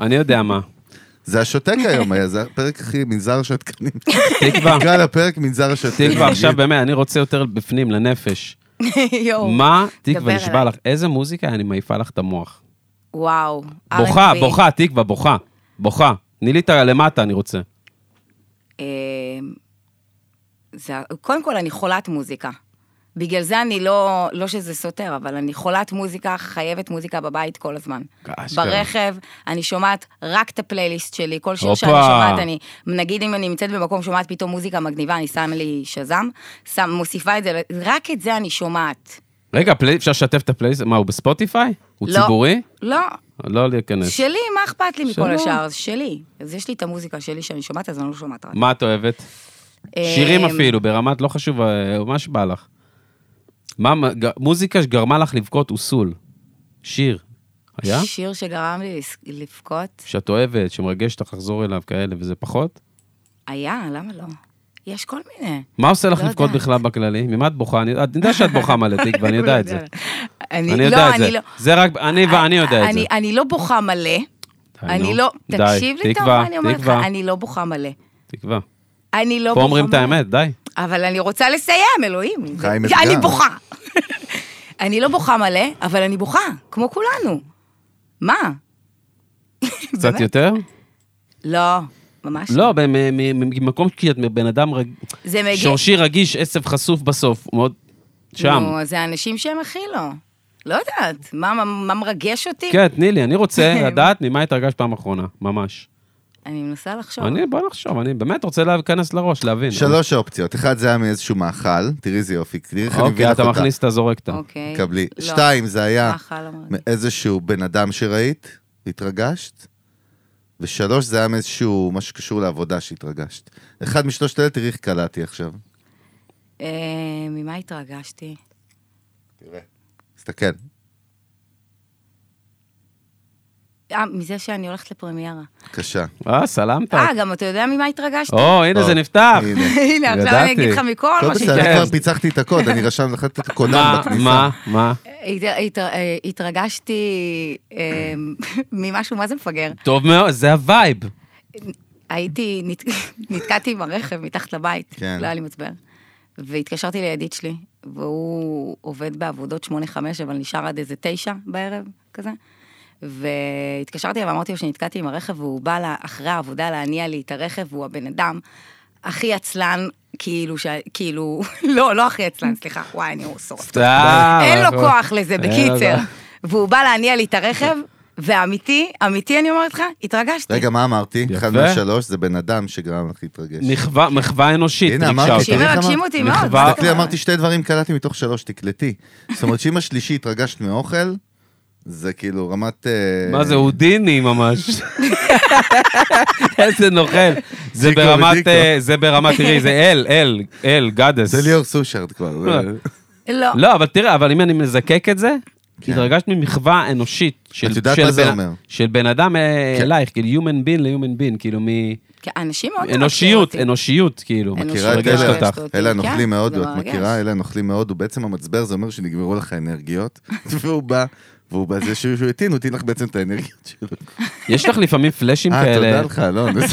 Speaker 1: אני יודע מה.
Speaker 2: זה השותק היום היה, זה הפרק הכי מנזר השתקנים.
Speaker 1: תקווה,
Speaker 2: נקרא לפרק מנזר השתקנים.
Speaker 1: תקווה, עכשיו באמת, אני רוצה יותר בפנים, לנפש.
Speaker 4: יואו.
Speaker 1: מה,
Speaker 4: דבר
Speaker 1: תקווה, נשבע
Speaker 4: אליי.
Speaker 1: לך, איזה מוזיקה אני מעיפה לך את המוח.
Speaker 4: וואו.
Speaker 1: בוכה,
Speaker 4: R&B.
Speaker 1: בוכה, תקווה, בוכה. בוכה. תני לי את הלמטה, אני רוצה.
Speaker 4: אה, זה- קודם כל, אני חולת מוזיקה. בגלל זה אני לא, לא שזה סותר, אבל אני חולת מוזיקה, חייבת מוזיקה בבית כל הזמן.
Speaker 1: אשכרה.
Speaker 4: ברכב, אני שומעת רק את הפלייליסט שלי, כל שיר שאני
Speaker 1: הופה.
Speaker 4: שומעת, אני, נגיד אם אני נמצאת במקום, שומעת פתאום מוזיקה מגניבה, אני שמה לי שזם, שם, מוסיפה את זה, רק את זה אני שומעת.
Speaker 1: רגע, פלי- אפשר לשתף את הפלייסט? מה, הוא בספוטיפיי? הוא
Speaker 4: לא.
Speaker 1: ציבורי?
Speaker 4: לא,
Speaker 1: לא להיכנס.
Speaker 4: שלי, מה אכפת לי מכל
Speaker 1: שלא.
Speaker 4: השאר? זה שלי. אז יש לי את המוזיקה שלי שאני שומעת, אז אני לא שומעת רק. אמ,
Speaker 1: מה את אוהבת?
Speaker 4: אה,
Speaker 1: שירים אפילו, ברמת לא חשוב, אה, מה שבא לך. מה, מה- ג- מוזיקה שגרמה לך לבכות אוסול. שיר. היה?
Speaker 4: שיר שגרם לי לס- לבכות.
Speaker 1: שאת אוהבת, שמרגשת לך לחזור אליו כאלה, וזה פחות?
Speaker 4: היה, למה לא? יש כל מיני.
Speaker 1: מה עושה לך
Speaker 4: לא
Speaker 1: לבכות
Speaker 4: יודעת.
Speaker 1: בכלל בכללי? ממה את בוכה? אני אני יודע שאת בוכה מלא תקווה, אני יודע את זה.
Speaker 4: אני
Speaker 1: אני
Speaker 4: לא,
Speaker 1: יודע את
Speaker 4: אני
Speaker 1: זה.
Speaker 4: לא.
Speaker 1: זה רק, אני ואני יודע את זה.
Speaker 4: אני- אני לא בוכה מלא.
Speaker 1: די,
Speaker 4: אני
Speaker 1: נו.
Speaker 4: לא...
Speaker 1: די,
Speaker 4: תקשיב לי טוב
Speaker 1: תקווה,
Speaker 4: מה אני אומרת לך,
Speaker 1: תקווה.
Speaker 4: אני לא בוכה מלא.
Speaker 1: תקווה.
Speaker 4: אני לא
Speaker 1: פה
Speaker 4: בוכה
Speaker 1: אומרים את
Speaker 4: מלא.
Speaker 1: האמת, די.
Speaker 4: אבל אני רוצה לסיים, אלוהים.
Speaker 2: חיים
Speaker 4: זה- אני
Speaker 2: אתגר.
Speaker 4: בוכה. אני לא בוכה מלא, אבל אני בוכה, כמו כולנו. מה?
Speaker 1: קצת יותר?
Speaker 4: לא, ממש
Speaker 1: לא, במ- מ- מ- ממקום כי את בן אדם רג-
Speaker 4: זה מגיע...
Speaker 1: שורשי רגיש, עצב חשוף בסוף, הוא מאוד שם.
Speaker 4: נו, זה האנשים שהם הכי לא. לא יודעת, מה- מה מה מרגש אותי?
Speaker 1: כן, תני לי, אני רוצה לדעת ממה התרגשת פעם אחרונה, ממש.
Speaker 4: אני מנסה לחשוב.
Speaker 1: אני, לא בוא נחשוב, אני באמת רוצה להיכנס לראש, להבין.
Speaker 2: שלוש אופציות. אחד זה היה מאיזשהו מאכל, תראי איזה יופי. תראי איך אני מביא
Speaker 1: אוקיי,
Speaker 2: לך
Speaker 1: אתה
Speaker 2: אותה.
Speaker 1: מכניס, אתה זורק אותה.
Speaker 4: אוקיי.
Speaker 2: קבלי.
Speaker 4: לא,
Speaker 2: שתיים, אה. זה היה
Speaker 4: ככה לא מרגיש.
Speaker 2: מאיזשהו בן אדם שראית, התרגשת. ושלוש, זה היה מאיזשהו, מה שקשור לעבודה שהתרגשת. אחד משלושת אלה, תראי איך קלעתי עכשיו.
Speaker 4: אה, ממה התרגשתי?
Speaker 2: תסתכל.
Speaker 4: אה, מזה שאני הולכת לפרמיירה.
Speaker 2: קשה.
Speaker 1: אה, סלמת.
Speaker 4: אה, גם אתה יודע ממה התרגשתי?
Speaker 1: או, הנה זה
Speaker 2: או,
Speaker 1: נפתח.
Speaker 4: הנה, עכשיו אני
Speaker 1: ידעתי.
Speaker 4: אגיד לך מכל
Speaker 2: לא
Speaker 4: מה
Speaker 2: בסדר,
Speaker 1: כן.
Speaker 2: אני כבר פיצחתי את הקוד, אני רשם לך את הקודן
Speaker 1: מה,
Speaker 2: בכניסה.
Speaker 1: מה, מה?
Speaker 4: אה, שהת- הת- התרגשתי אה, ממשהו מה זה מפגר.
Speaker 1: טוב מאוד, זה הווייב.
Speaker 4: הייתי, נת... נתקעתי עם הרכב מתחת לבית,
Speaker 2: כן.
Speaker 4: כן. לא היה לי מצבר. והתקשרתי לידיד שלי, והוא עובד בעבודות 8-5, אבל נשאר עד איזה 9 בערב, כזה. והתקשרתי אליו ואמרתי לו שנתקעתי עם הרכב, והוא בא לה, אחרי העבודה להניע לי את הרכב, והוא הבן אדם הכי עצלן, כאילו, ש... כאילו, לא, לא הכי עצלן, סליחה, וואי, אני שורפת.
Speaker 1: סתם.
Speaker 4: אין לו כוח לזה,
Speaker 1: אין לו
Speaker 4: בקיצר.
Speaker 1: כוח.
Speaker 4: והוא בא להניע לי את הרכב, ואמיתי, אמיתי אני אומרת לך, התרגשתי.
Speaker 2: רגע, מה אמרתי?
Speaker 1: יפה.
Speaker 2: אחד מהשלוש זה בן אדם שגרם לך להתרגש.
Speaker 1: מחווה- מחווה אנושית,
Speaker 2: הנה,
Speaker 1: ריגשה
Speaker 2: אמרתי,
Speaker 1: אותי.
Speaker 4: תקשיבי,
Speaker 2: תראי כמה-
Speaker 4: מרגשים אותי מאוד. לא, מה
Speaker 1: מחווה-
Speaker 4: זאת
Speaker 2: תסתכלי,
Speaker 4: אומרת?
Speaker 2: אמרתי שתי דברים קלטתי מתוך שלוש, תקלטי. זאת אומרת שאם השלישי התרגשת מאוכל, זה כאילו רמת... אה,
Speaker 1: מה זה, הודיני ממש. איזה נוכל. זה
Speaker 2: דיקו
Speaker 1: ברמת,
Speaker 2: ודיקו.
Speaker 1: אה, זה ברמת, תראי, זה אל, אל, אל, גאדס.
Speaker 2: זה ליאור סושרד כבר. זה-
Speaker 4: לא.
Speaker 1: לא, אבל תראה, אבל אם אני מזקק את זה,
Speaker 2: כן.
Speaker 1: התרגשת ממחווה אנושית של
Speaker 2: את יודעת
Speaker 1: של
Speaker 2: מה זה
Speaker 1: בן-
Speaker 2: אומר.
Speaker 1: של בן אדם אה,
Speaker 2: כן.
Speaker 1: אלייך, כאילו human being ל-human being, כאילו מאנושיות,
Speaker 4: כי אנשים מאוד מכירים לא אותי.
Speaker 1: אנושיות, כאילו.
Speaker 4: אנושיות
Speaker 2: מכירה את
Speaker 1: מרגשת
Speaker 2: אלה-
Speaker 4: מרגשת
Speaker 1: אותך.
Speaker 4: אותי.
Speaker 2: אלה
Speaker 4: כן,
Speaker 2: הנוכלים מהודו,
Speaker 4: זה
Speaker 2: את
Speaker 4: מרגש.
Speaker 2: מכירה? אלה הנוכלים מהודו. בעצם המצבר זה אומר שנגמרו לך אנרגיות, והוא בא, והוא בא, זה שהוא שהוא הטעין, הוא הטעין לך בעצם את האנרגיות שלו.
Speaker 1: יש לך לפעמים פלאשים
Speaker 2: אה, תודה
Speaker 1: כאלה.
Speaker 2: לך, לא, אני-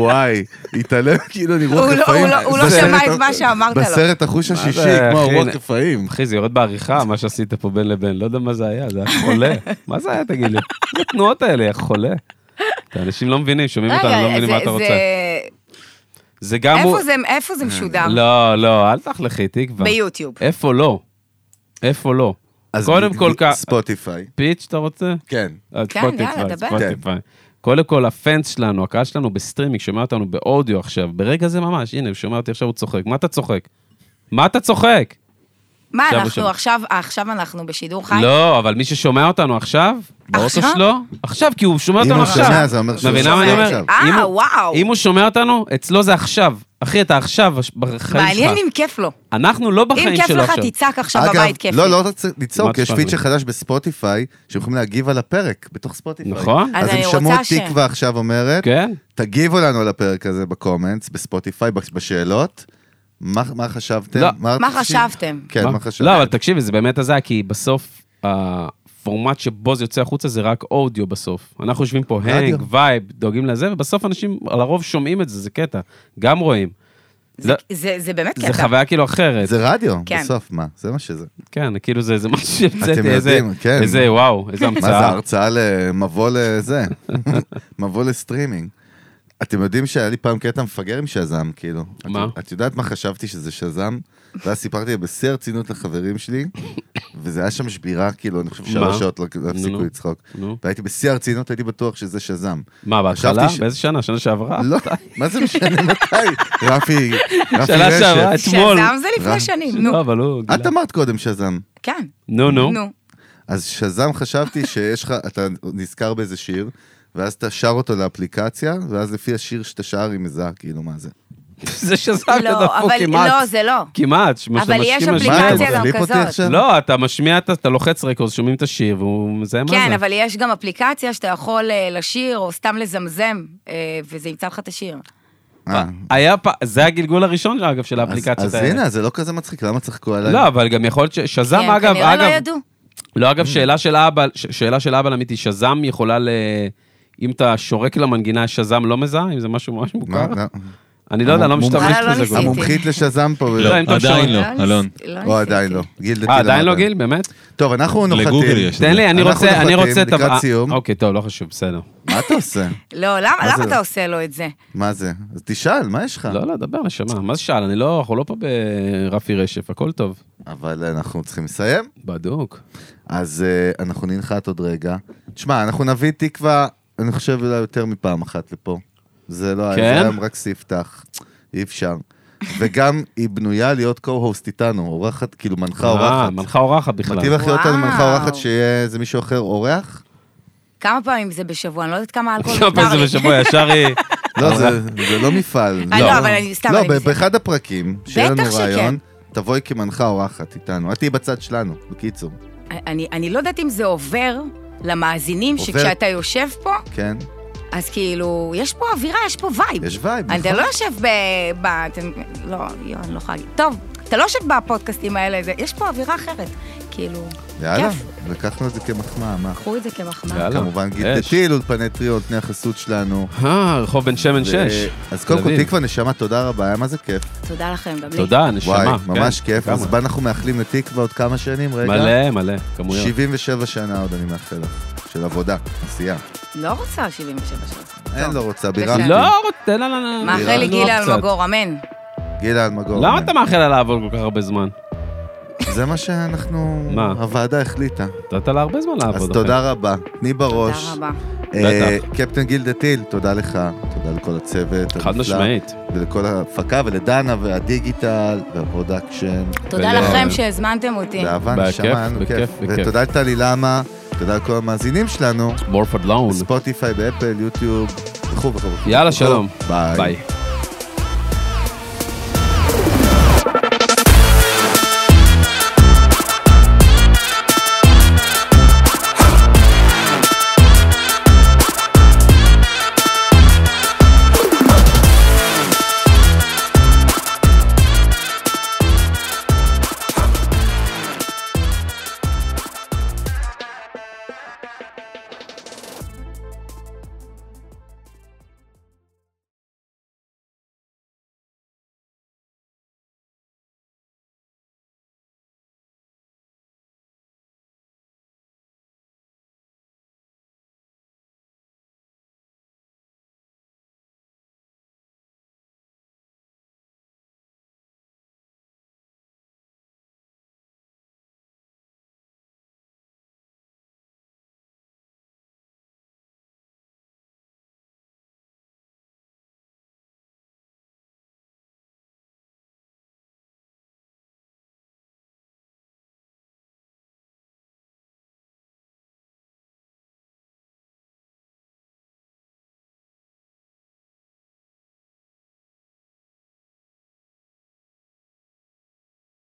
Speaker 2: וואי, התעלם כאילו אני רוח
Speaker 4: הוא לא-
Speaker 2: רפאים.
Speaker 4: הוא לא- הוא לא
Speaker 2: בסרט
Speaker 4: שמע את
Speaker 2: ה-
Speaker 4: מה שאמרת לו.
Speaker 2: בסרט החוש השישי,
Speaker 1: זה,
Speaker 2: כמו
Speaker 1: אחי?
Speaker 2: הרוח רפאים.
Speaker 1: אחי, זה יורד בעריכה, מה שעשית פה בין לבין. לא יודע מה זה היה, זה היה חולה. מה זה היה, תגיד לי? מה התנועות האלה, יא חולה. אנשים לא מבינים, שומעים אותנו, לא
Speaker 4: רגע,
Speaker 1: מבינים מה אתה
Speaker 4: זה-
Speaker 1: רוצה.
Speaker 4: זה-
Speaker 1: זה גם הוא...
Speaker 4: איפה זה- איפה זה משודר?
Speaker 1: לא, לא, אל תחלכי, תקווה.
Speaker 4: ביוטיוב.
Speaker 1: איפה לא? איפה לא?
Speaker 2: אז
Speaker 1: קודם
Speaker 2: ב-
Speaker 1: כל,
Speaker 2: ב-
Speaker 1: כ-
Speaker 2: ספוטיפיי,
Speaker 1: פיץ' אתה רוצה?
Speaker 2: כן.
Speaker 1: אז
Speaker 4: כן,
Speaker 1: ספוטיפיי,
Speaker 4: יאללה, דבר.
Speaker 1: ספוטיפיי. קודם כל, הפאנס שלנו, הקהל שלנו בסטרימינג, שומע אותנו באודיו עכשיו, ברגע זה ממש, הנה, הוא שומע אותי עכשיו, הוא צוחק. מה אתה צוחק? מה אתה צוחק?
Speaker 4: מה,
Speaker 1: עכשיו
Speaker 4: אנחנו
Speaker 1: ושם.
Speaker 4: עכשיו, עכשיו אנחנו בשידור חי?
Speaker 1: לא, אבל מי ששומע אותנו עכשיו, באוטו
Speaker 4: עכשיו?
Speaker 1: שלו, עכשיו, כי הוא שומע
Speaker 2: אם
Speaker 1: אותנו
Speaker 2: הוא
Speaker 1: עכשיו.
Speaker 2: שומע, זה אומר שהוא
Speaker 1: מבינה מה
Speaker 2: שומע
Speaker 1: אני אומר?
Speaker 2: עכשיו.
Speaker 1: אם
Speaker 4: אה,
Speaker 1: הוא-
Speaker 4: וואו.
Speaker 1: אם הוא שומע אותנו, אצלו זה עכשיו. אחי, אתה עכשיו בש- בחיים
Speaker 4: מעניין
Speaker 1: שלך.
Speaker 4: אם כיף לו.
Speaker 1: אנחנו לא בחיים
Speaker 4: אם
Speaker 1: שלו עכשיו.
Speaker 4: כיף לך, תצעק עכשיו בבית כיף.
Speaker 2: לא,
Speaker 4: לי.
Speaker 2: לא רוצה לצעוק,
Speaker 1: כמעט
Speaker 2: יש
Speaker 1: צחק
Speaker 2: פיצ'ר
Speaker 1: לי.
Speaker 2: חדש בספוטיפיי, שהם יכולים להגיב על הפרק, בתוך ספוטיפיי.
Speaker 1: נכון.
Speaker 4: אז
Speaker 2: אז הם
Speaker 4: אני
Speaker 2: שמעו
Speaker 4: רוצה
Speaker 2: את
Speaker 4: ש-
Speaker 2: תקווה עכשיו אומרת,
Speaker 1: כן?
Speaker 2: תגיבו לנו על הפרק הזה בקומנטס, בספוטיפיי, בש- בשאלות. מה מה חשבתם?
Speaker 1: לא.
Speaker 4: מה
Speaker 2: רצית-
Speaker 4: חשבתם?
Speaker 2: כן, מה חשבתם?
Speaker 1: לא, אבל תקשיבי, זה באמת הזיה, כי בסוף הפורמט שבו זה יוצא החוצה זה רק אודיו בסוף. אנחנו יושבים פה
Speaker 2: רדיו.
Speaker 1: הנג, וייב, דואגים לזה, ובסוף אנשים לרוב שומעים את זה, זה קטע. גם רואים.
Speaker 4: זה-
Speaker 1: לא,
Speaker 4: זה זה באמת
Speaker 1: זה
Speaker 4: קטע.
Speaker 1: חוויה כאילו אחרת.
Speaker 2: זה רדיו,
Speaker 4: כן.
Speaker 2: בסוף, מה? זה מה שזה.
Speaker 1: כן, כאילו זה זה משהו שהמצאתי,
Speaker 2: אתם
Speaker 1: איזה,
Speaker 2: יודעים, כן.
Speaker 1: איזה, וואו, איזה
Speaker 2: מה זה
Speaker 1: המצאה.
Speaker 2: הרצאה למבוא לזה? מבוא לסטרימינג. אתם יודעים שהיה לי פעם קטע מפגר עם שזם, כאילו.
Speaker 1: מה?
Speaker 2: את, את יודעת מה חשבתי שזה שזם? ואז סיפרתי בשיא הרצינות לחברים שלי, וזה היה שם שבירה, כאילו, אני חושב
Speaker 1: מה?
Speaker 2: שלוש שעות לא לא הפסיקו
Speaker 1: נו.
Speaker 2: לצחוק.
Speaker 1: נו.
Speaker 2: והייתי בשיא הרצינות, הייתי בטוח שזה שזם.
Speaker 1: מה, בהתחלה?
Speaker 2: חשבתי ש-
Speaker 1: באיזה שנה? שנה שעברה?
Speaker 2: לא, מה זה משנה מתי? רפי, רפי
Speaker 1: שנה שעברה,
Speaker 2: רשף.
Speaker 1: אתמול.
Speaker 4: שזם זה לפני
Speaker 2: רם.
Speaker 4: שנים, נו.
Speaker 1: לא, אבל הוא...
Speaker 2: את
Speaker 1: גילה.
Speaker 2: אמרת קודם שזם.
Speaker 4: כן.
Speaker 1: נו, נו.
Speaker 4: נו.
Speaker 2: אז שזם חשבתי שיש לך, אתה נזכר באיזה שיר, ואז אתה שר אותו לאפליקציה, ואז לפי השיר שאתה שר היא מזהה, כאילו, מה זה.
Speaker 1: זה שזם אתה
Speaker 4: לא,
Speaker 1: דפוק
Speaker 4: אבל
Speaker 1: כמעט.
Speaker 4: לא, זה לא.
Speaker 1: כמעט.
Speaker 4: אבל יש
Speaker 1: משתמשים
Speaker 2: מה, אתה
Speaker 4: אפליקציה גם
Speaker 2: מחליף אותי
Speaker 4: כזאת.
Speaker 2: עכשיו?
Speaker 1: לא, אתה משמיע, את ה- אתה לוחץ רקורד, שומעים את השיר, והוא מזהה מה זה.
Speaker 4: כן, אבל יש גם אפליקציה שאתה יכול אה, לשיר, או סתם לזמזם, אה, וזה ימצא לך את השיר.
Speaker 2: אה,
Speaker 1: היה פעם, זה הגלגול הראשון, אגב, של האפליקציות
Speaker 2: אז, אז
Speaker 1: האלה.
Speaker 2: הנה, זה לא כזה מצחיק, למה צחקו עליי?
Speaker 1: לא, אבל גם יכול להיות ש... שזם,
Speaker 4: כי הם
Speaker 1: אגב,
Speaker 4: כנראה לא
Speaker 1: אגב...
Speaker 4: ידעו.
Speaker 1: לא,
Speaker 2: Mm.
Speaker 1: אגב, שאלה של אבא, ש- שאלה של אבא אמיתי, שזם יכולה ל... אם אתה שורק למנגינה, שזם לא מזהה? אם זה משהו ממש מוכר?
Speaker 2: מה, לא.
Speaker 1: אני לא יודע, לא
Speaker 2: המומ-
Speaker 1: משתמש
Speaker 4: וואלה,
Speaker 1: בזה.
Speaker 4: לא
Speaker 1: כל כך.
Speaker 4: ניסיתי.
Speaker 2: המומחית לשזם פה,
Speaker 3: לא,
Speaker 1: אם אתה
Speaker 3: עדיין
Speaker 1: שואל.
Speaker 3: לא, אלון.
Speaker 2: או עדיין לא. גיל דתי
Speaker 1: אה, עדיין
Speaker 2: למד.
Speaker 1: לא גיל? באמת?
Speaker 2: טוב, אנחנו נוחתים.
Speaker 3: לגוגל יש.
Speaker 1: תן לי, אני
Speaker 2: אנחנו
Speaker 1: רוצה, אני
Speaker 2: נוחתים
Speaker 1: רוצה את ה...
Speaker 2: לקראת
Speaker 1: אה,
Speaker 2: סיום.
Speaker 1: אוקיי, טוב, לא חשוב, בסדר.
Speaker 2: מה אתה עושה?
Speaker 4: לא, למה
Speaker 2: מה
Speaker 4: למה
Speaker 2: זה?
Speaker 4: אתה עושה לו את זה?
Speaker 2: מה זה? אז תשאל, מה יש לך?
Speaker 1: לא, לא, דבר, נשמה. מה זה שאל? אני לא, אנחנו לא פה ברפי רשף, הכל טוב.
Speaker 2: אבל אנחנו צריכים לסיים.
Speaker 1: בדוק.
Speaker 2: אז אה, אנחנו ננחת עוד רגע. תשמע, אנחנו נביא תקווה, אני חושב אולי יותר מפעם אחת לפה. זה לא,
Speaker 1: כן?
Speaker 2: זה היום רק ספתח, אי אפשר. וגם היא בנויה להיות co-host איתנו, אורחת, כאילו מנחה
Speaker 1: אה,
Speaker 2: אורחת.
Speaker 1: מנחה אורחת בכלל.
Speaker 2: מתאים לך להיות
Speaker 4: וואו.
Speaker 2: לנו מנחה אורחת שיהיה איזה מישהו אחר אורח?
Speaker 4: כמה פעמים זה בשבוע? אני לא יודעת כמה אלכוהול
Speaker 1: כמה פעמים זה
Speaker 4: מותר לי.
Speaker 1: בשבוע, ישר היא...
Speaker 2: לא, זה זה לא מפעל.
Speaker 4: אה, לא, אבל אני- סתם,
Speaker 2: לא,
Speaker 4: אני-
Speaker 2: ב- באחד הפרקים, שיהיה
Speaker 4: בטח
Speaker 2: לנו
Speaker 4: שכן.
Speaker 2: רעיון, תבואי כמנחה אורחת איתנו. את תהיי בצד שלנו, בקיצור.
Speaker 4: אני- אני לא יודעת אם זה עובר למאזינים,
Speaker 2: עובר-
Speaker 4: שכשאתה יושב פה,
Speaker 2: כן?
Speaker 4: אז כאילו, יש פה אווירה, יש פה וייב.
Speaker 2: יש וייב,
Speaker 4: אתה
Speaker 2: נכון.
Speaker 4: לא יושב ב... ב... אתם... לא, יואו, אני לא יכולה להגיד. טוב, אתה לא יושב בפודקאסטים האלה, זה... יש פה אווירה אחרת. כאילו,
Speaker 2: יאללה,
Speaker 4: כיף.
Speaker 2: לקחנו את זה כמחמאה, מה?
Speaker 4: קחו את זה כמחמאה.
Speaker 1: יאללה.
Speaker 2: כמובן גיל
Speaker 1: אש.
Speaker 2: דתיל, אולפני טריו, נותני החסות שלנו.
Speaker 1: אה, רחוב בן שמן 6.
Speaker 2: ו- אז קודם
Speaker 1: תל
Speaker 2: כל,
Speaker 1: אביב.
Speaker 2: תקווה, נשמה, תודה רבה, היה מה זה כיף.
Speaker 4: תודה לכם, גם לי.
Speaker 1: תודה, נשמה.
Speaker 2: וואי,
Speaker 1: כן,
Speaker 2: ממש כיף. אז
Speaker 1: כמה.
Speaker 2: מה אנחנו מאחלים לתקווה עוד כמה שנים, רגע?
Speaker 1: מלא, מלא, כמויות.
Speaker 2: 77 שנה עוד אני מאחל לך. של עבודה, עשייה.
Speaker 4: לא רוצה 77 שעות.
Speaker 2: אין לא רוצה,
Speaker 4: בסדר.
Speaker 2: בירמתי.
Speaker 1: לא רוצה, לא, לא, לא.
Speaker 4: מאחל לי
Speaker 1: לנוח
Speaker 4: גילה
Speaker 1: קצת.
Speaker 4: אלמגור, אמן.
Speaker 2: גילה אלמגור.
Speaker 1: למה אתה מאחל לה לעבוד כל כך הרבה זמן?
Speaker 2: זה מה שאנחנו...
Speaker 1: מה?
Speaker 2: הוועדה החליטה.
Speaker 1: נתת לה הרבה זמן לעבוד.
Speaker 2: אז
Speaker 1: אחי.
Speaker 2: תודה רבה, תני בראש.
Speaker 4: תודה רבה.
Speaker 2: אה, קפטן גיל דתיל, תודה לך, תודה לכל הצוות.
Speaker 1: חד
Speaker 2: הנפלא,
Speaker 1: משמעית.
Speaker 2: ולכל ההפקה, ולדנה, והדיגיטל, והפרודקשן.
Speaker 4: תודה
Speaker 1: ול-
Speaker 4: לכם שהזמנתם אותי.
Speaker 2: באהבה,
Speaker 1: בכיף,
Speaker 2: נשמה, נו,
Speaker 1: בכיף,
Speaker 2: כיף.
Speaker 1: בכיף.
Speaker 2: ותודה לטלי למה, תודה לכל המאזינים שלנו,
Speaker 1: מורפורד לאון.
Speaker 2: ספוטיפיי, באפל, יוטיוב, וכו' וכו'. וכו'.
Speaker 1: יאללה, שלום.
Speaker 2: ביי.
Speaker 1: ביי.